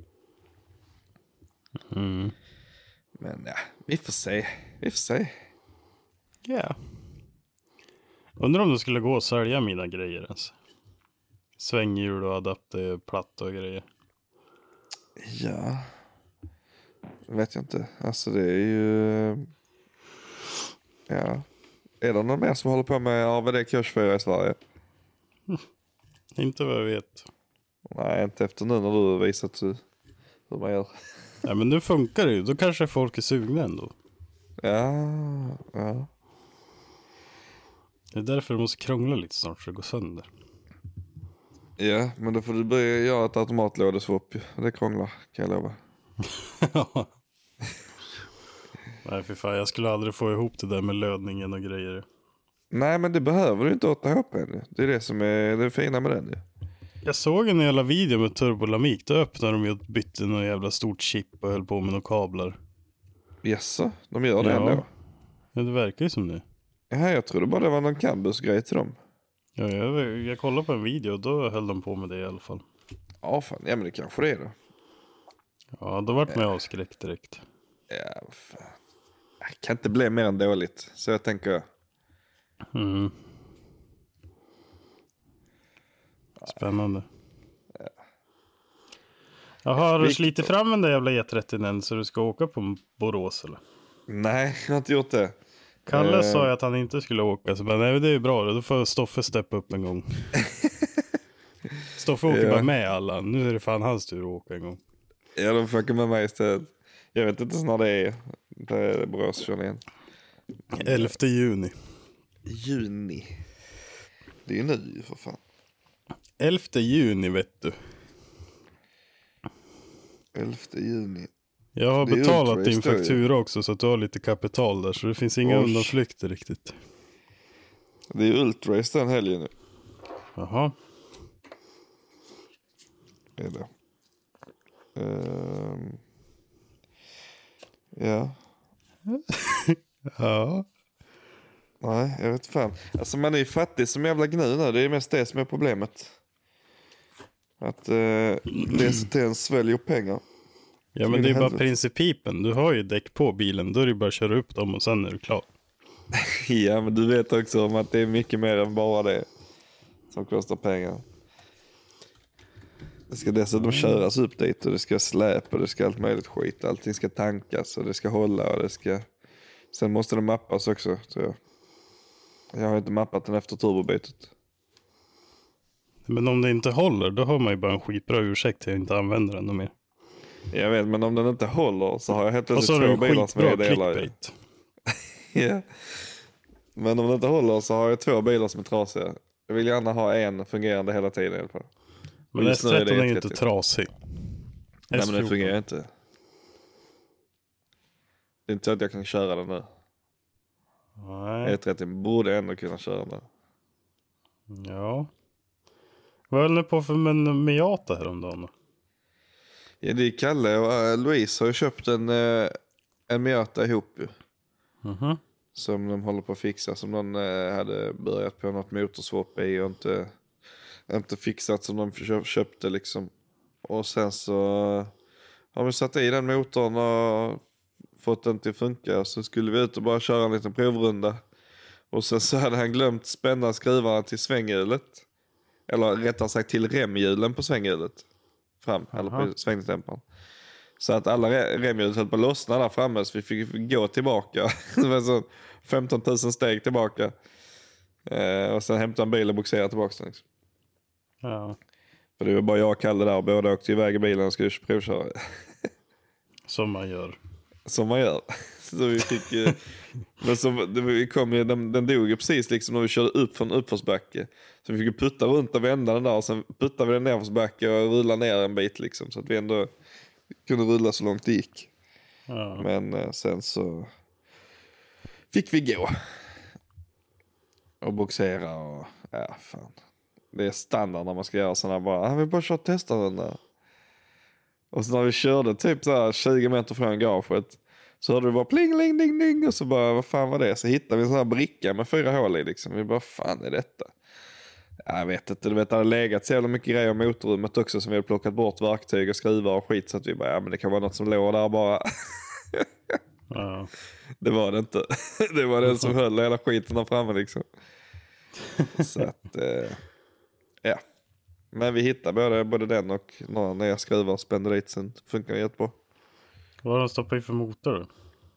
[SPEAKER 2] Men ja, vi får se. Vi får se.
[SPEAKER 1] Ja. Undrar om det skulle gå att sälja mina grejer ens. Svänghjul och adapterplatta och grejer.
[SPEAKER 2] Ja. Vet jag inte. Alltså det är ju... Ja. Är det någon mer som håller på med AVD kurs 4 i Sverige?
[SPEAKER 1] Inte vad jag vet.
[SPEAKER 2] Nej, inte efter nu när du har visat hur, hur man gör.
[SPEAKER 1] Nej men nu funkar det ju. Då kanske folk är sugna ändå.
[SPEAKER 2] Ja, ja.
[SPEAKER 1] Det är därför det måste krångla lite snart så det går sönder.
[SPEAKER 2] Ja, men då får du börja göra ett automatlådeswap. ju. Det krånglar, kan jag lova.
[SPEAKER 1] Ja. Nej för fan, jag skulle aldrig få ihop det där med lödningen och grejer.
[SPEAKER 2] Nej, men det behöver du inte 8 HP nu. Det är det som är det fina med den ju.
[SPEAKER 1] Jag såg en jävla video med turbolamik. Då öppnade de ju och bytte något jävla stort chip och höll på med några kablar.
[SPEAKER 2] Jaså, de gör det
[SPEAKER 1] Ja.
[SPEAKER 2] ändå?
[SPEAKER 1] Ja, det verkar ju som det.
[SPEAKER 2] Ja, jag trodde bara det var någon Cambus-grej till dem.
[SPEAKER 1] Ja, jag, jag kollade på en video och då höll de på med det i alla fall.
[SPEAKER 2] Ja, fan. Ja, men det kanske det är då.
[SPEAKER 1] Ja, då vart man
[SPEAKER 2] Eh.
[SPEAKER 1] ju avskräckt direkt.
[SPEAKER 2] Ja, vad fan. Det kan inte bli mer än dåligt. Så jag tänker jag.
[SPEAKER 1] Mm. Spännande.
[SPEAKER 2] Eh.
[SPEAKER 1] Jaha, har du
[SPEAKER 2] Viktor.
[SPEAKER 1] slitit fram den där jävla E30 än så du ska åka på Borås eller?
[SPEAKER 2] Nej, jag har inte gjort det.
[SPEAKER 1] Kalle
[SPEAKER 2] Eh.
[SPEAKER 1] sa ju att han inte skulle åka, så bara, nej men det är ju bra då, då får Stoffe steppa upp en
[SPEAKER 2] <laughs>
[SPEAKER 1] gång. Stoffe åker
[SPEAKER 2] Ja.
[SPEAKER 1] bara med alla, nu är det fan hans tur att åka en gång.
[SPEAKER 2] Ja, de fuckar med mig istället. Jag vet inte ens när det är. Det är Borås kör igen.
[SPEAKER 1] 11 juni.
[SPEAKER 2] Juni. Det är ju nu ju, för fan.
[SPEAKER 1] 11 juni vet du.
[SPEAKER 2] 11 juni.
[SPEAKER 1] Jag har
[SPEAKER 2] Det är
[SPEAKER 1] betalat
[SPEAKER 2] Ultra
[SPEAKER 1] din
[SPEAKER 2] Historia.
[SPEAKER 1] faktura också så att du har lite kapital där. Så det finns inga
[SPEAKER 2] Oj.
[SPEAKER 1] undanflykter riktigt.
[SPEAKER 2] Det är ju Ultrace den helgen nu.
[SPEAKER 1] Jaha.
[SPEAKER 2] Det är det. Ehm. Ja.
[SPEAKER 1] Ja.
[SPEAKER 2] Nej, jag vet fan. Alltså man är ju fattig som jävla gnu nu. Det är mest det som är problemet. Att eh, DCT'n sväljer pengar.
[SPEAKER 1] Ja
[SPEAKER 2] Som
[SPEAKER 1] men
[SPEAKER 2] in
[SPEAKER 1] det
[SPEAKER 2] i
[SPEAKER 1] är ju bara
[SPEAKER 2] helvete.
[SPEAKER 1] principen. Du har ju däck på bilen. Då är det ju bara att köra upp dem och sen är du klar.
[SPEAKER 2] Ja, men du vet också om att det är mycket mer än bara det som kostar pengar. Det ska
[SPEAKER 1] Mm.
[SPEAKER 2] dessutom köras upp dit och det ska släp och det ska allt möjligt skit. Allting ska tankas och det ska hålla och det ska... Sen måste det mappas också, tror jag. Jag har inte mappat den efter turbobytet.
[SPEAKER 1] Men om det inte håller då har man ju bara en skitbra ursäkt till att inte använda den något mer.
[SPEAKER 2] Jag vet, men om den inte håller så har jag helt
[SPEAKER 1] Och så
[SPEAKER 2] plötsligt
[SPEAKER 1] har du
[SPEAKER 2] två
[SPEAKER 1] en
[SPEAKER 2] bilar som är
[SPEAKER 1] skitbra
[SPEAKER 2] delar. i.
[SPEAKER 1] clickbait.
[SPEAKER 2] <laughs> Ja. Men om den inte håller så har jag två bilar som är trasiga. Jag vill gärna ha en fungerande hela tiden i alla fall.
[SPEAKER 1] Men
[SPEAKER 2] Just nu är det
[SPEAKER 1] S13 är ju inte
[SPEAKER 2] E30.
[SPEAKER 1] trasig.
[SPEAKER 2] Nej men den
[SPEAKER 1] S14.
[SPEAKER 2] fungerar inte. Det är inte så att jag kan köra den nu.
[SPEAKER 1] Nej.
[SPEAKER 2] E30 borde ändå kunna köra den.
[SPEAKER 1] Ja. Vad höll ni på för men- Miata häromdagen då?
[SPEAKER 2] Ja det är Kalle och eh, Louise har ju köpt en, eh, en Miata ihop ju.
[SPEAKER 1] Mhm.
[SPEAKER 2] Som de håller på att fixa. Som de eh, hade börjat på något motorswap i och inte, inte fixat som de kö- köpte liksom. Och sen så eh, har vi satt i den motorn och fått den till att funka. Och så skulle vi ut och bara köra en liten provrunda. Och sen så hade han glömt spänna skruvarna till svänghjulet. Eller rättare sagt till remhjulen på svänghjulet. Fram, eller på svängdämparen. Så att alla re- remhjulet höll på att lossna där framme så vi fick gå tillbaka. <laughs> Det var så 15 000 steg tillbaka. Eh, och sen hämta en bil och bogsera tillbaka den. Liksom.
[SPEAKER 1] Ja.
[SPEAKER 2] För det var bara jag och Kalle där och båda åkte iväg i bilen och skulle provköra.
[SPEAKER 1] Som man gör.
[SPEAKER 2] Som man gör. <laughs> Så vi fick, eh, men så, det, vi kom ju, den, den dog ju precis liksom när vi körde upp från uppförsbacke. Så vi fick ju putta runt och vända den där och sen puttade vi den nerförsbacke och rulla ner en bit liksom. Så att vi ändå kunde rulla så långt det gick.
[SPEAKER 1] Ja.
[SPEAKER 2] Men eh, sen så fick vi gå. Och boxera och ja fan. Det är standard när man ska göra sådana bara, ah, vi bara kör testrunda. Och så när vi körde typ så här 20 meter från garaget. Så hörde vi bara pling, ling, ding, ding. Och så bara, vad fan var det? Så hittade vi en sån här bricka med fyra hål i liksom. Vi bara, fan är detta? Ja, Jag vet inte, du vet det hade legat så jävla mycket grejer i motorrummet också som vi hade plockat bort verktyg och skruvar och skit. Så att vi bara, ja men det kan vara något som låg där bara. <laughs>
[SPEAKER 1] Ja.
[SPEAKER 2] Det var det inte. <laughs> Det var den som höll hela skiten där framme liksom. Så att, eh, ja. Men vi hittade både, både den och några nya skruvar och spände dit. Sen funkar det jättebra.
[SPEAKER 1] Vad har de stoppat i för motor då?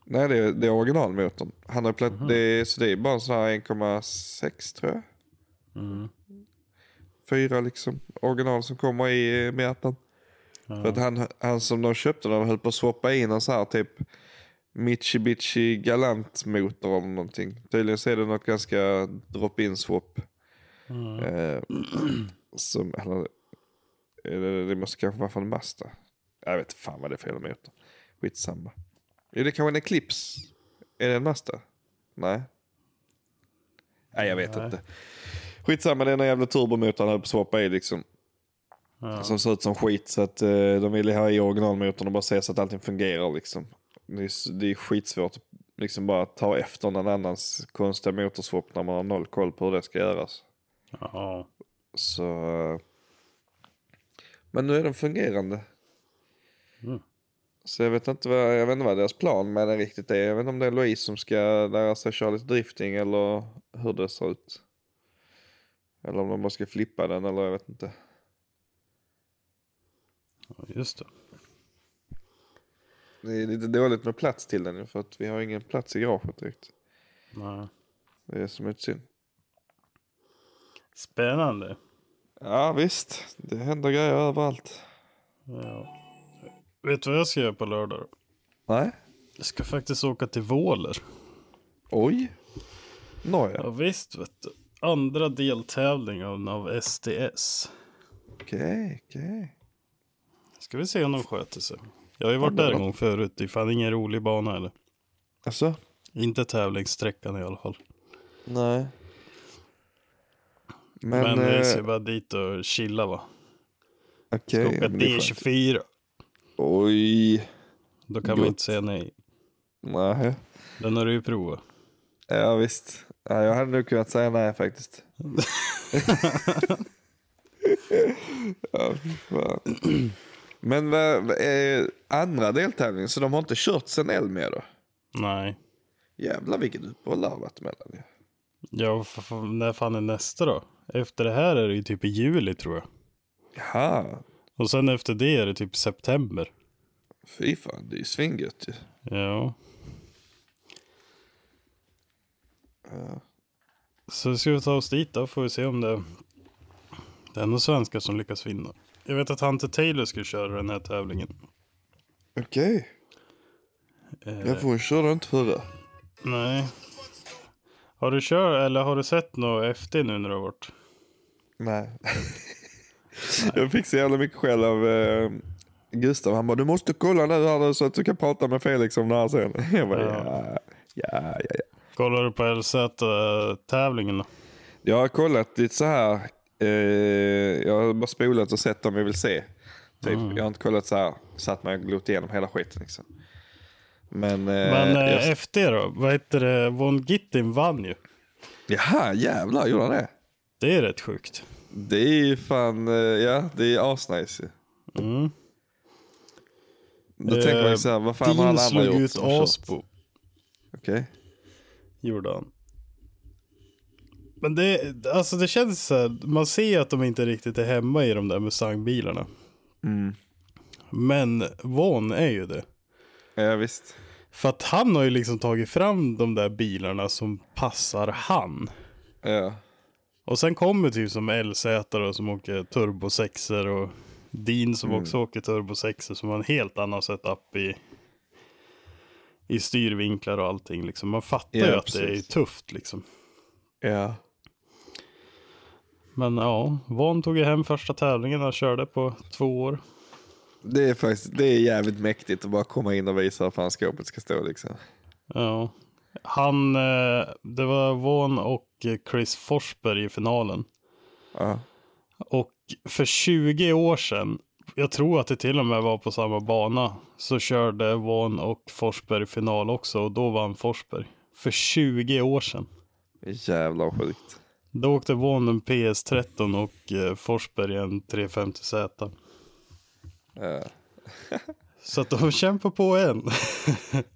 [SPEAKER 2] Nej, det är, det är originalmotorn. Han har platt, det, är- så det är bara en sån här 1,6 tror jag. Fyra liksom. Original som kommer i eh, Miatan. För att han, han som de köpte den höll på att swappa in en så här typ Mitsubishi Galant motor eller någonting. Tydligen så är det något ganska drop-in swap. Eh, som, eller, eller det måste kanske vara från Mazda. Jag vet fan vad det är för jävla motor. Skitsamma. Är det kanske en Eclipse? Är det en Mazda? Nej. Nej jag vet inte. Skitsamma det är en jävla turbomotor han höll på att swappa i liksom. Som ser ut som skit. Så att eh, de ville ha i originalmotorn och bara se så att allting fungerar liksom. Det är, s- det är skitsvårt att liksom bara ta efter någon annans konstiga motorswap när man har noll koll på hur det ska göras.
[SPEAKER 1] Ja.
[SPEAKER 2] Så... eh, Men nu är den fungerande. Mm. Så jag vet, inte vad, jag vet inte vad deras plan med den riktigt är. Jag vet inte om det är Louise som ska lära sig köra lite drifting eller hur det ser ut. Eller om de bara ska flippa den eller jag vet inte.
[SPEAKER 1] Ja, Just det.
[SPEAKER 2] Det är lite dåligt med plats till den ju, för att vi har ingen plats i garaget direkt.
[SPEAKER 1] Nej.
[SPEAKER 2] Det är som ett synd.
[SPEAKER 1] Spännande.
[SPEAKER 2] Ja visst, det händer grejer överallt.
[SPEAKER 1] Ja. Vet du vad jag ska göra på lördag? då?
[SPEAKER 2] Nej?
[SPEAKER 1] Jag ska faktiskt åka till Våler.
[SPEAKER 2] Oj? Nåja,
[SPEAKER 1] Ja visst vet du. Andra deltävlingen av STS.
[SPEAKER 2] okej, okej.
[SPEAKER 1] Ska vi se om de sköter sig. Jag har ju varit där en gång förut. Det är fan ingen rolig bana eller.
[SPEAKER 2] Alltså?
[SPEAKER 1] Inte tävlingssträckan i alla fall.
[SPEAKER 2] Nej. Men,
[SPEAKER 1] Men,
[SPEAKER 2] eh,
[SPEAKER 1] vi ska bara dit och chilla va.
[SPEAKER 2] okej.
[SPEAKER 1] åka
[SPEAKER 2] men det är skönt.
[SPEAKER 1] D24.
[SPEAKER 2] Oj.
[SPEAKER 1] Då kan man
[SPEAKER 2] Gott.
[SPEAKER 1] inte säga nej.
[SPEAKER 2] Nej.
[SPEAKER 1] Den har du ju provat.
[SPEAKER 2] Ja visst. Ja, jag hade nog kunnat säga nej faktiskt. ja, fy fan. Men vad, vad är andra deltävlingen, så de har inte kört sen Elmia då?
[SPEAKER 1] Nej.
[SPEAKER 2] Jävlar vilket uppehåll det har varit mellan ju.
[SPEAKER 1] Ja, f- f- när fan är nästa då? Efter det här är det ju typ i juli tror jag.
[SPEAKER 2] Jaha,
[SPEAKER 1] Och sen efter det är det typ september.
[SPEAKER 2] fy fan det är ju svingött ju.
[SPEAKER 1] Ja. Så ska vi ta oss dit då, får vi se om det, det är några svenskar som lyckas vinna. Jag vet att Hunter Taylor skulle köra den här tävlingen.
[SPEAKER 2] Okej. Jag får ju köra inte förra.
[SPEAKER 1] Nej. Har du kört eller har du sett något FT nu när du har varit? <laughs>
[SPEAKER 2] Nej. jag fick så jävla mycket skäll av eh, Gustav. Han bara, du måste kolla nu här nu så att du kan prata med Felix om det här sen. <laughs> Jag bara, ja. Ja, ja, ja.
[SPEAKER 1] Kollar du på LZ-tävlingen då?
[SPEAKER 2] Jag har kollat lite så här. Eh, jag har bara spolat och sett dem jag vill se. Typ.
[SPEAKER 1] Mm.
[SPEAKER 2] Jag har inte kollat så här. Satt mig och glott igenom hela skiten. Liksom. Men... Eh,
[SPEAKER 1] Men eh,
[SPEAKER 2] jag,
[SPEAKER 1] FT då? Vad heter det? Von Gittin vann ju.
[SPEAKER 2] jaha, jävlar. Gjorde han det?
[SPEAKER 1] Det är rätt sjukt.
[SPEAKER 2] Det är ju fan... Eh, ja, det är asnice ju.
[SPEAKER 1] Mm.
[SPEAKER 2] Då tänker man ju så här, vad fan har alla
[SPEAKER 1] Dean
[SPEAKER 2] andra
[SPEAKER 1] Eh, slog
[SPEAKER 2] gjort?
[SPEAKER 1] ut
[SPEAKER 2] som har kört?
[SPEAKER 1] Asbo.
[SPEAKER 2] Okej.
[SPEAKER 1] Gjorde han. Men det, alltså det känns så här, man ser att de inte riktigt är hemma i de där Mustang-bilarna.
[SPEAKER 2] Mm.
[SPEAKER 1] Men Von är ju det.
[SPEAKER 2] Ja, visst.
[SPEAKER 1] För att han har ju liksom tagit fram de där bilarna som passar han.
[SPEAKER 2] Ja.
[SPEAKER 1] Och sen kommer typ som LZ då, som åker turbo sexer och Dean
[SPEAKER 2] Mm.
[SPEAKER 1] som också åker turbo sexer som har en helt annan setup i, i styrvinklar och allting. Liksom. Man fattar
[SPEAKER 2] Ja,
[SPEAKER 1] ju att det är
[SPEAKER 2] precis.
[SPEAKER 1] tufft liksom.
[SPEAKER 2] Ja.
[SPEAKER 1] Men ja, Von tog ju hem första tävlingen han körde på två år.
[SPEAKER 2] Det är faktiskt det är jävligt mäktigt att bara komma in och visa hur fan skåpet ska stå liksom.
[SPEAKER 1] Ja. Han, eh, det var Von och eh, Chris Forsberg i finalen.
[SPEAKER 2] Ja.
[SPEAKER 1] Och för 20 år sedan, jag tror att det till och med var på samma bana, så körde Von och Forsberg final också och då vann Forsberg. För 20 år sedan.
[SPEAKER 2] Jävlar vad sjukt.
[SPEAKER 1] Då åkte Von en PS13 och eh, Forsberg en 350Z.
[SPEAKER 2] Ja.
[SPEAKER 1] Så att de <laughs> kämpar på än.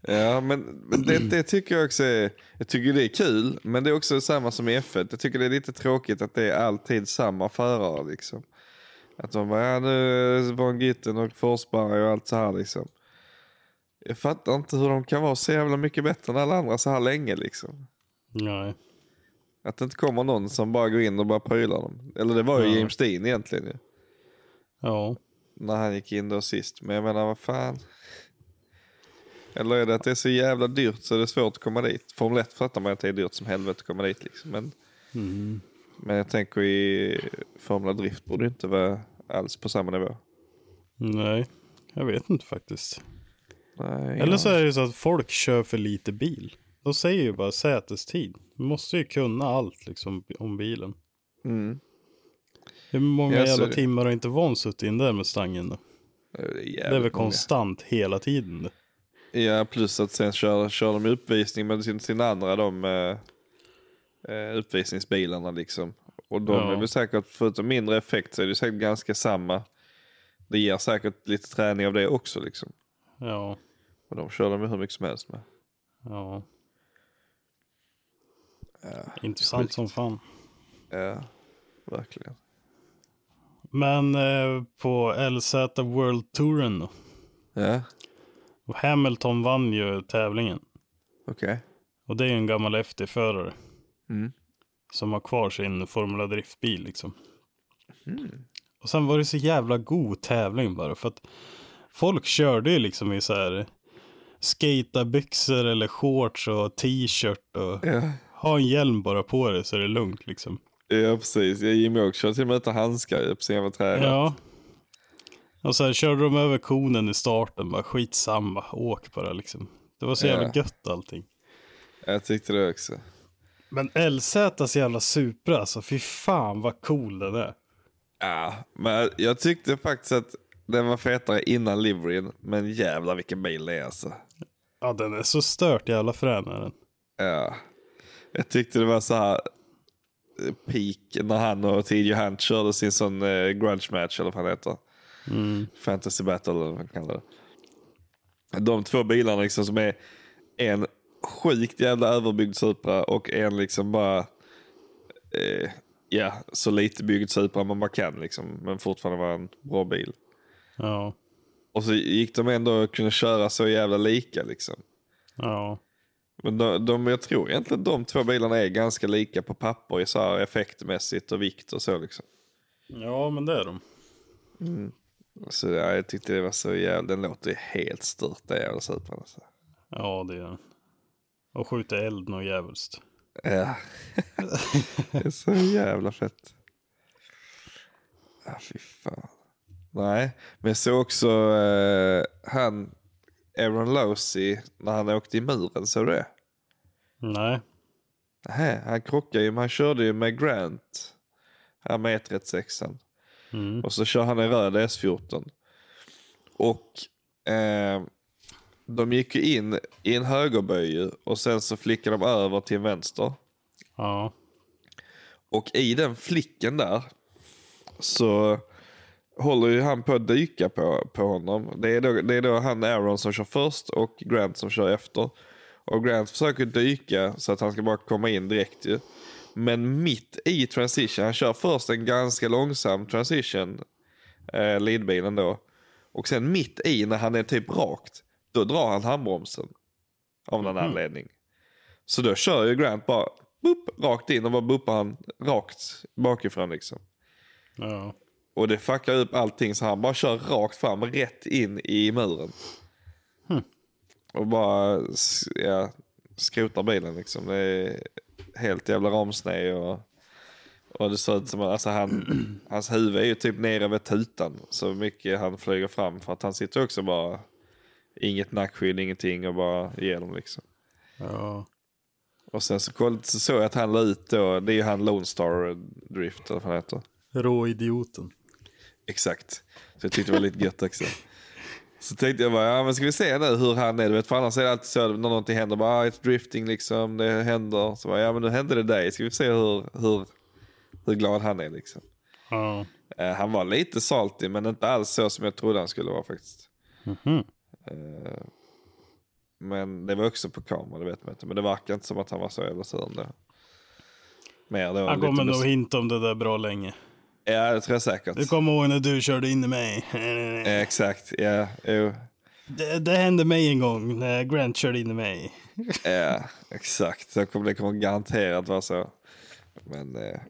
[SPEAKER 2] Ja, men men det, det tycker jag också är, jag tycker det är kul, men det är också samma som i F1. Jag tycker det är lite tråkigt att det är alltid samma förare liksom. Att de bara, ja nu var Gitten och Forsberg och allt så här liksom. Jag fattar inte hur de kan vara så jävla mycket bättre än alla andra så här länge liksom.
[SPEAKER 1] Nej.
[SPEAKER 2] Att det inte kommer någon som bara går in och bara prylar dem. Eller det var ju James Dean egentligen ju.
[SPEAKER 1] Ja.
[SPEAKER 2] när han gick in då sist. Men jag menar, vad fan. Eller är det att det är så jävla dyrt så det är svårt att komma dit? Formel 1 fattar man att det är dyrt som helvete att komma dit. Liksom. Men, Mm. men jag tänker i Formula Drift borde det inte vara alls på samma nivå.
[SPEAKER 1] Nej, jag vet inte faktiskt.
[SPEAKER 2] Nej,
[SPEAKER 1] Eller så är det ju så att folk kör för lite bil. De säger ju bara sätestid. Du måste ju kunna allt liksom om bilen.
[SPEAKER 2] Mm.
[SPEAKER 1] Hur många
[SPEAKER 2] Ja, så är
[SPEAKER 1] jävla
[SPEAKER 2] det.
[SPEAKER 1] timmar har inte Von suttit in där med stangen då?
[SPEAKER 2] Det är,
[SPEAKER 1] Det är väl
[SPEAKER 2] jävligt många.
[SPEAKER 1] konstant hela tiden.
[SPEAKER 2] Ja, plus att sen kör, kör de uppvisning med sin, sin andra de eh, eh, uppvisningsbilarna liksom. Och de
[SPEAKER 1] Ja.
[SPEAKER 2] är väl säkert, förutom mindre effekt så är det säkert ganska samma. Det ger säkert lite träning av det också liksom.
[SPEAKER 1] Ja,
[SPEAKER 2] Och de kör de ju hur mycket som helst med.
[SPEAKER 1] ja. Intressant
[SPEAKER 2] sjukt.
[SPEAKER 1] som fan.
[SPEAKER 2] Ja, verkligen.
[SPEAKER 1] Men eh, på LZ World Touren då.
[SPEAKER 2] Ja,
[SPEAKER 1] Och Hamilton vann ju tävlingen.
[SPEAKER 2] okej.
[SPEAKER 1] Och det är ju en gammal FD-förare.
[SPEAKER 2] Mm.
[SPEAKER 1] Som har kvar sin Formula Driftbil liksom.
[SPEAKER 2] Mm.
[SPEAKER 1] Och sen var det så jävla god tävling bara. För att folk körde ju liksom i så här skatarbyxor eller shorts och t-shirt och
[SPEAKER 2] Ja.
[SPEAKER 1] ha en hjälm bara på dig så är det lugnt liksom.
[SPEAKER 2] ja, precis. Ja, Jimmy också kör till och med utan handskar ju på sin jävla träning.
[SPEAKER 1] Ja. Och sen körde de över konen i starten bara skitsamma, åk bara liksom. Det var så jävla
[SPEAKER 2] Ja.
[SPEAKER 1] gött allting.
[SPEAKER 2] Jag tyckte det också.
[SPEAKER 1] Men LZs jävla Supra alltså, fy fan vad cool den är.
[SPEAKER 2] Ja, men jag tyckte faktiskt att den var fetare innan liveryn. Men jävlar vilken bil det är alltså.
[SPEAKER 1] Ja, den är så stört jävla frän är den.
[SPEAKER 2] Ja. Jag tyckte det var så här eh, peak när han och T.J. Hunt körde sin sån eh, grudge match eller vad han heter. Fantasy battle eller vad man kallar det. De två bilarna liksom som är en sjukt jävla överbyggd Supra och en liksom bara eh, ja, så lite byggd Supra man bara kan liksom. Men fortfarande var en bra bil.
[SPEAKER 1] Ja,
[SPEAKER 2] Och så gick de ändå och kunde köra så jävla lika liksom.
[SPEAKER 1] ja,
[SPEAKER 2] Men de, de, jag tror egentligen de två bilarna är ganska lika på papper i så här effektmässigt och vikt och så liksom.
[SPEAKER 1] ja, men det är de.
[SPEAKER 2] Så ja, jag tyckte det var så jävla, den låter ju helt stört den jävla supern alltså.
[SPEAKER 1] Ja, det är den. Och skjuter eld något djävulskt.
[SPEAKER 2] Ja. det är så jävla fett. Ja, fy fan. Nej, men jag såg också eh, han, Aaron Losey, när han åkte i muren, såg du det?
[SPEAKER 1] Nej,
[SPEAKER 2] Nej, han krockade ju, men han körde ju med Grant. Han med 136 Och så kör han en röd S14. Och eh, de gick ju in i en högerböj ju, och sen så flickade de över till en vänster.
[SPEAKER 1] ja,
[SPEAKER 2] Och i den flicken där så håller ju han på att dyka på, på honom. Det är, då, det är då han Aaron som kör först och Grant som kör efter. Och Grant försöker dyka så att han ska bara komma in direkt ju. Men mitt i transition, han kör först en ganska långsam transition, eh, leadbilen då. Och sen mitt i när han är typ rakt, då drar han handbromsen. Av någon anledning. Så då kör ju Grant bara boop, rakt in och bara buppar han rakt bakifrån liksom.
[SPEAKER 1] ja,
[SPEAKER 2] Och det fuckar upp allting så han bara kör rakt fram, rätt in i muren. Och bara s- ja, skrotar bilen liksom. Det är helt jävla ramsned och, och det ser ut som att alltså, han, <clears throat> hans huvud är ju typ nere vid tutan. Så mycket han flyger fram för att han sitter också bara, inget nackskydd, ingenting och bara igenom liksom.
[SPEAKER 1] ja,
[SPEAKER 2] Och sen så, koll, så såg jag att han la ut då, det är ju han Lone Star Drift eller vad han heter.
[SPEAKER 1] råidioten.
[SPEAKER 2] Exakt. Så jag tyckte det var lite gött också. Så tänkte jag bara, ja men ska vi se nu hur han är. Du vet, för annars är det alltid så när någonting händer, bara ah, it's drifting liksom, det händer. Så bara, ja men nu hände det dig, ska vi se hur, hur, hur glad han är liksom.
[SPEAKER 1] Ja,
[SPEAKER 2] Eh, han var lite salty men inte alls så som jag trodde han skulle vara faktiskt.
[SPEAKER 1] Mhm.
[SPEAKER 2] Eh, men det var också på kamera, det vet man inte. Men det verkar inte som att han var så jävla sur ändå. Mer då.
[SPEAKER 1] han
[SPEAKER 2] lite
[SPEAKER 1] kommer nog
[SPEAKER 2] mus-
[SPEAKER 1] hinta om det där bra länge.
[SPEAKER 2] Ja det tror jag säkert.
[SPEAKER 1] Du kommer ihåg när du körde in i mig.
[SPEAKER 2] Eh, Exakt, ja. Jo.
[SPEAKER 1] Det, det hände mig en gång när Grant körde in i mig.
[SPEAKER 2] Ja, exakt. Så kommer det kommer garanterat vara så. Men eh,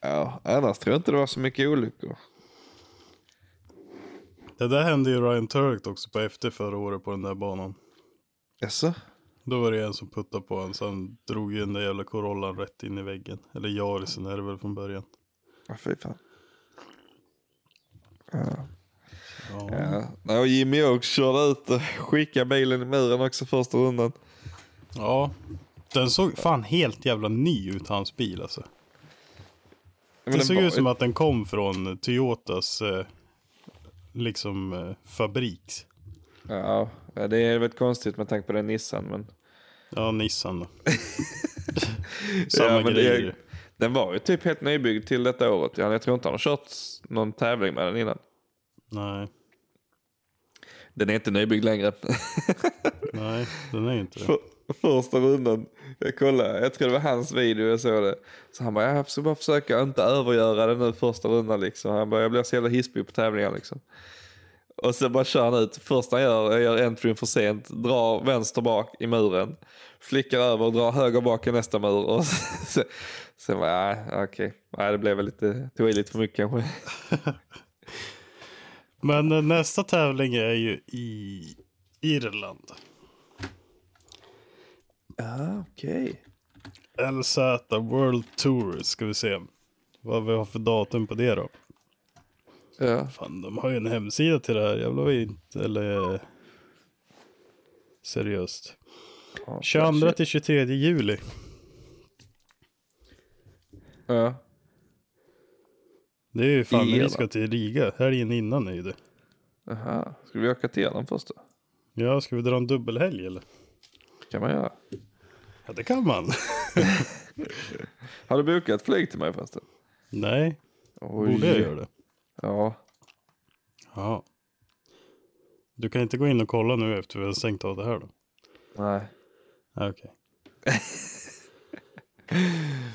[SPEAKER 2] ja, annars tror jag inte det var så mycket olyckor.
[SPEAKER 1] Det där hände ju Ryan Turk också på efter förra året på den där banan.
[SPEAKER 2] Jaså?
[SPEAKER 1] Då var det en som puttade på honom så han drog ju den där jävla Corollan rätt in i väggen. Eller Jarisen är det väl från början.
[SPEAKER 2] Ja, fy fan.
[SPEAKER 1] Ja.
[SPEAKER 2] Ja. Nej, och Jimmy Oaks körde ut och skickade bilen i muren också första rundan.
[SPEAKER 1] ja. Den såg fan helt jävla ny ut hans bil alltså.
[SPEAKER 2] Men
[SPEAKER 1] Det
[SPEAKER 2] den
[SPEAKER 1] såg
[SPEAKER 2] var-
[SPEAKER 1] ut som att den kom från Toyotas eh, liksom eh, fabriks.
[SPEAKER 2] Ja, ja, det är väl konstigt med tanke på den Nissan. Men...
[SPEAKER 1] Ja, Nissan
[SPEAKER 2] <laughs>
[SPEAKER 1] då. Samma
[SPEAKER 2] ja, men det
[SPEAKER 1] grejer.
[SPEAKER 2] är- Den var ju typ helt nybyggd till detta året. Ja, Jag tror inte han har kört s- någon tävling med den innan.
[SPEAKER 1] Nej,
[SPEAKER 2] Den är inte nybyggd längre.
[SPEAKER 1] nej, den är ju inte det.
[SPEAKER 2] För, första rundan, jag kollade, jag tror det var hans video jag såg det. Så han bara, jag ska bara försöka inte övergöra det nu första rundan liksom. Han bara, jag blir så jävla hispig på tävlingar liksom. Och så bara kör han ut, första han gör, jag gör entryn för sent, drar vänster bak i muren. Flickar över, drar höger bak i nästa mur. Och <laughs> sen, sen bara, nej okej, nej det blev väl lite, tog i lite för mycket kanske.
[SPEAKER 1] Men eh, nästa tävling är ju i Irland.
[SPEAKER 2] Ja, okej.
[SPEAKER 1] LZ World Tour ska vi se. Vad vi har för datum på det då.
[SPEAKER 2] Ja,
[SPEAKER 1] Fan, de har ju en hemsida till det här. Jävlar vad inte, eller... Seriöst. 22 till 23 juli.
[SPEAKER 2] ja.
[SPEAKER 1] Det är ju fan när vi
[SPEAKER 2] Irland.
[SPEAKER 1] ska till Riga. Helgen innan är ju det.
[SPEAKER 2] Aha. Ska vi åka till Irland först då?
[SPEAKER 1] Ja, ska vi dra en dubbelhelg eller?
[SPEAKER 2] kan man göra.
[SPEAKER 1] Ja, det kan man. <laughs>
[SPEAKER 2] Har du bokat flyg till mig förresten?
[SPEAKER 1] Nej,
[SPEAKER 2] Oj.
[SPEAKER 1] borde jag göra det?
[SPEAKER 2] Ja.
[SPEAKER 1] Ja. Du kan inte gå in och kolla nu efter vi har stängt av det här då?
[SPEAKER 2] Nej.
[SPEAKER 1] Ah, Okej.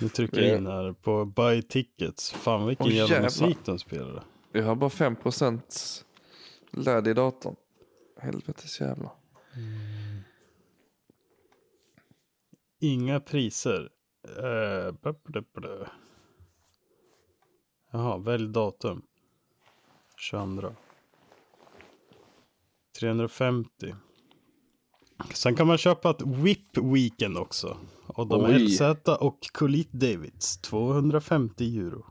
[SPEAKER 1] nu trycker jag in här på buy tickets. Fan vilken
[SPEAKER 2] Åh,
[SPEAKER 1] jävla
[SPEAKER 2] jävlar.
[SPEAKER 1] musik de spelar.
[SPEAKER 2] Jag har bara 5% ladd i datorn. Helvetes jävlar.
[SPEAKER 1] Inga priser. Eh, bla, bla, bla. Jaha, välj datum. 22. 350. Sen kan man köpa ett Whip Weekend också. Adam
[SPEAKER 2] Oj.
[SPEAKER 1] LZ och Colit Davids. 250 euro.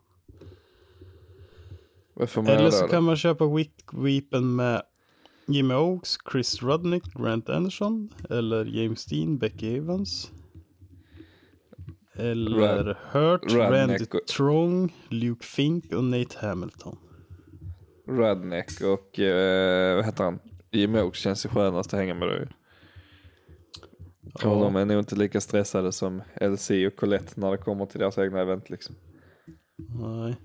[SPEAKER 2] Varför man
[SPEAKER 1] Eller
[SPEAKER 2] göra
[SPEAKER 1] så
[SPEAKER 2] det?
[SPEAKER 1] kan man köpa Whip Weekend med Jimmy Oaks, Chris Rudnick, Grant Anderson. Eller James Dean, Becky Evans. Eller
[SPEAKER 2] Rud-
[SPEAKER 1] Hurt, Randy
[SPEAKER 2] Rudnick och-
[SPEAKER 1] Trong, Luke Fink och Nate Hamilton.
[SPEAKER 2] Redneck och eh, vad heter han? Jimmy Oaks känns ju skönast att hänga med då ju. Och de är nog inte lika stressade som LC och Colette när det kommer till deras egna
[SPEAKER 1] <laughs>
[SPEAKER 2] event liksom.
[SPEAKER 1] Nej.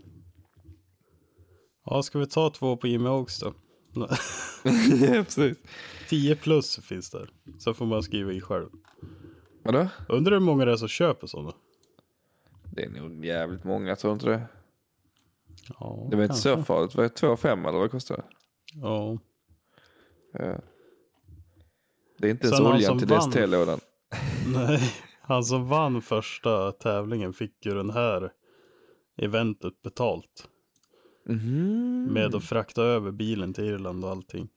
[SPEAKER 1] Ja, ska vi ta två på Jimmy Oaks då? <laughs>
[SPEAKER 2] ja, precis.
[SPEAKER 1] 10 plus finns där. Så får man skriva i själv.
[SPEAKER 2] Vadå?
[SPEAKER 1] Undrar hur många det är som köper sådana.
[SPEAKER 2] Det är nog jävligt många, tror du inte det?
[SPEAKER 1] Ja,
[SPEAKER 2] Det var inte så farligt. Var det 2,5 eller vad kostade det?
[SPEAKER 1] Ja.
[SPEAKER 2] Ja. Det är inte ens
[SPEAKER 1] Sen han
[SPEAKER 2] oljan
[SPEAKER 1] som
[SPEAKER 2] till
[SPEAKER 1] vann-
[SPEAKER 2] DST-lådan.
[SPEAKER 1] Nej, han som vann första tävlingen fick ju den här eventet betalt.
[SPEAKER 2] Mhm.
[SPEAKER 1] Med att frakta över bilen till Irland och allting.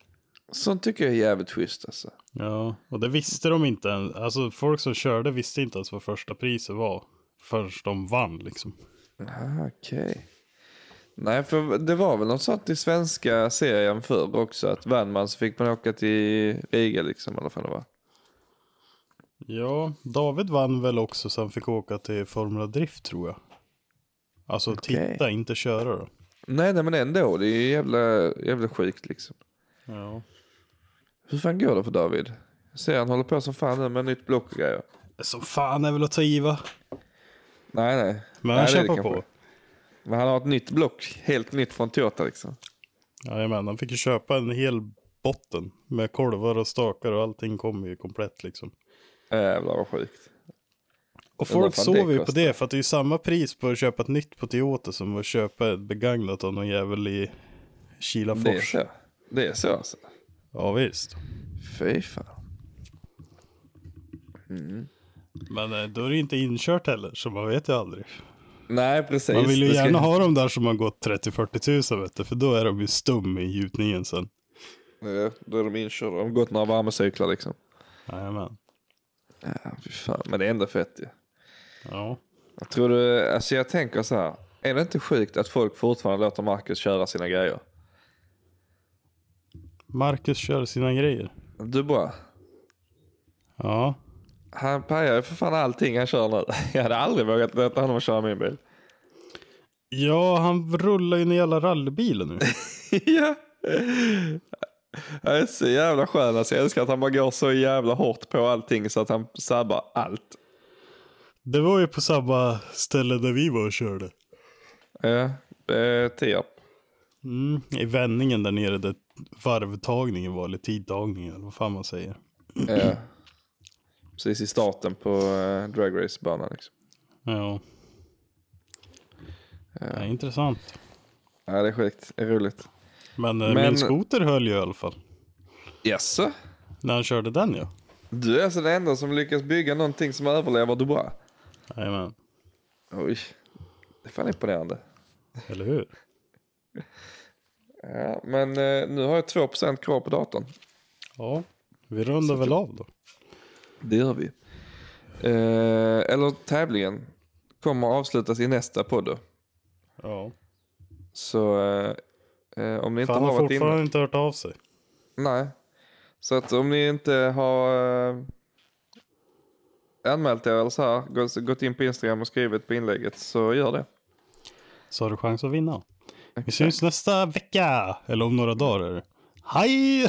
[SPEAKER 2] Sånt tycker jag är jävligt schysst alltså.
[SPEAKER 1] Ja, och det visste de inte ens. Alltså folk som körde visste inte ens vad första priset var. Förrän de vann liksom.
[SPEAKER 2] Ah, Okej. Nej, för det var väl något sånt i svenska serien förr också. Att vann man så fick man åka till Riga liksom. Eller vad fan det var.
[SPEAKER 1] Ja, David vann väl också så han fick åka till Formula Drift tror jag. Alltså
[SPEAKER 2] Okej.
[SPEAKER 1] titta, inte köra då.
[SPEAKER 2] Nej, nej, men ändå. Det är ju jävla, jävla sjukt liksom.
[SPEAKER 1] Ja.
[SPEAKER 2] Hur fan går det för David? Jag ser han håller på som fan nu med nytt block och grejer.
[SPEAKER 1] Så fan är väl att ta i va?
[SPEAKER 2] Nej, nej.
[SPEAKER 1] Men han
[SPEAKER 2] nej, det är det
[SPEAKER 1] kämpar
[SPEAKER 2] kanske.
[SPEAKER 1] på.
[SPEAKER 2] Men han har ett nytt block. Helt nytt från Toyota liksom.
[SPEAKER 1] Jajamän, han fick ju köpa en hel botten med kolvar och stakar och allting kom ju komplett liksom.
[SPEAKER 2] Jävlar vad sjukt.
[SPEAKER 1] Och
[SPEAKER 2] Men vad
[SPEAKER 1] folk
[SPEAKER 2] fan det
[SPEAKER 1] sover ju på
[SPEAKER 2] kostar.
[SPEAKER 1] det för att det är ju samma pris på att köpa ett nytt på Toyota som att köpa ett begagnat av någon jävel i
[SPEAKER 2] Det är
[SPEAKER 1] Kilafors.
[SPEAKER 2] så. Det är så alltså.
[SPEAKER 1] Ja visst.
[SPEAKER 2] Fy fan.
[SPEAKER 1] Men eh, då är det ju inte inkört heller så man vet ju aldrig.
[SPEAKER 2] Nej, precis.
[SPEAKER 1] Man vill ju
[SPEAKER 2] Det ska-
[SPEAKER 1] gärna ha dem där som har gått 30-40 tusen vet du för då är de ju stum i gjutningen sen.
[SPEAKER 2] Ja, Då är de inkörda. De har gått några värmecyklar liksom.
[SPEAKER 1] Jajamän.
[SPEAKER 2] Ja, fy fan. Men det är ändå fett ju.
[SPEAKER 1] Ja.
[SPEAKER 2] Jag tror du, alltså jag tänker så här. Är det inte sjukt att folk fortfarande låter Marcus köra sina grejer?
[SPEAKER 1] Marcus kör sina grejer.
[SPEAKER 2] Du bara.
[SPEAKER 1] Ja.
[SPEAKER 2] Han pajar ju för fan allting han kör nu. <laughs> Jag hade aldrig vågat låta honom köra min bil. <laughs>
[SPEAKER 1] Ja, han rullar ju ner hela rallybilen nu.
[SPEAKER 2] ja. Han är så jävla skön. Alltså jag älskar att han bara går så jävla hårt på allting så att han sabbar allt.
[SPEAKER 1] Det var ju på samma ställe där vi var och körde.
[SPEAKER 2] Ja, eh, Tierp.
[SPEAKER 1] Mm, I vändningen där nere där varvtagningen var, eller tidtagningen eller vad fan man säger.
[SPEAKER 2] Ja. Precis i starten på eh, Drag Race-banan. Liksom.
[SPEAKER 1] Ja. ja. Intressant.
[SPEAKER 2] Ja, det är sjukt. Det är roligt.
[SPEAKER 1] Men, eh,
[SPEAKER 2] Men-
[SPEAKER 1] min skoter höll ju i alla fall.
[SPEAKER 2] Jaså?
[SPEAKER 1] När han körde den ja.
[SPEAKER 2] Du är alltså den enda som lyckas bygga någonting som överlever Dubai.
[SPEAKER 1] Jajamän.
[SPEAKER 2] Oj. Det är fan imponerande.
[SPEAKER 1] Eller hur?
[SPEAKER 2] Ja, men eh, nu har jag 2% kvar på datorn.
[SPEAKER 1] Ja. Vi rundar väl av då.
[SPEAKER 2] Det gör vi. Eh, eller tävlingen kommer avslutas i nästa podd.
[SPEAKER 1] Ja.
[SPEAKER 2] Så eh, eh, om ni inte
[SPEAKER 1] Fan
[SPEAKER 2] har
[SPEAKER 1] har
[SPEAKER 2] varit inne...
[SPEAKER 1] fortfarande inte hört av sig.
[SPEAKER 2] Nej. Så att om ni inte har eh, anmält er eller så här, gå- gått in på Instagram och skrivit på inlägget så gör det.
[SPEAKER 1] Så har du chans att vinna. Vi syns nästa vecka. Eller om några dagar är det. Hej!